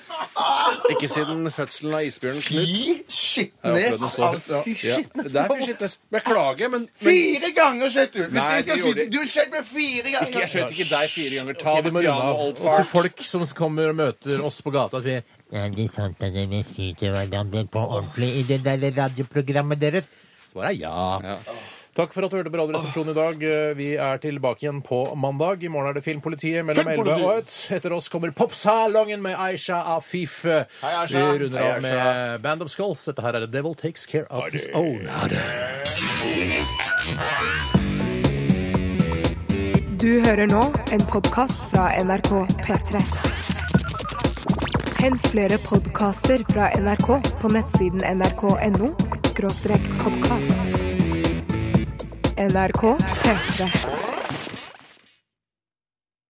Ikke siden fødselen av isbjørnen Knut. Fy skittnes. Altså, fy Ja, skittnes. det er for shitness. Beklager, men, men Fire ganger skjøt du. Hvis Nei, jeg skal det gjorde skyte Du skjøt meg fire ganger. jeg skjøt ikke deg fire ganger. Ta Ok, vi det må runde piano, av. old Og til fart. folk som kommer og møter oss på gata at vi Er det sant at dere skyter hverandre på ordentlig i det der radioprogrammet deres? Svaret er ja. Takk for at du hørte på Radioresepsjonen i dag. Eh, Vi er tilbake igjen på mandag. I morgen er det Filmpolitiet mellom 11 og 1. Etter oss kommer Popsalongen med Aisha Afif. Vi runder av med Band of Skulls. Dette her er The Devil Takes Care of His Own. Ha det. Du hører nå en podkast fra NRK P3. Hent flere podkaster fra NRK på nettsiden nrk.no podkast. NRK P3.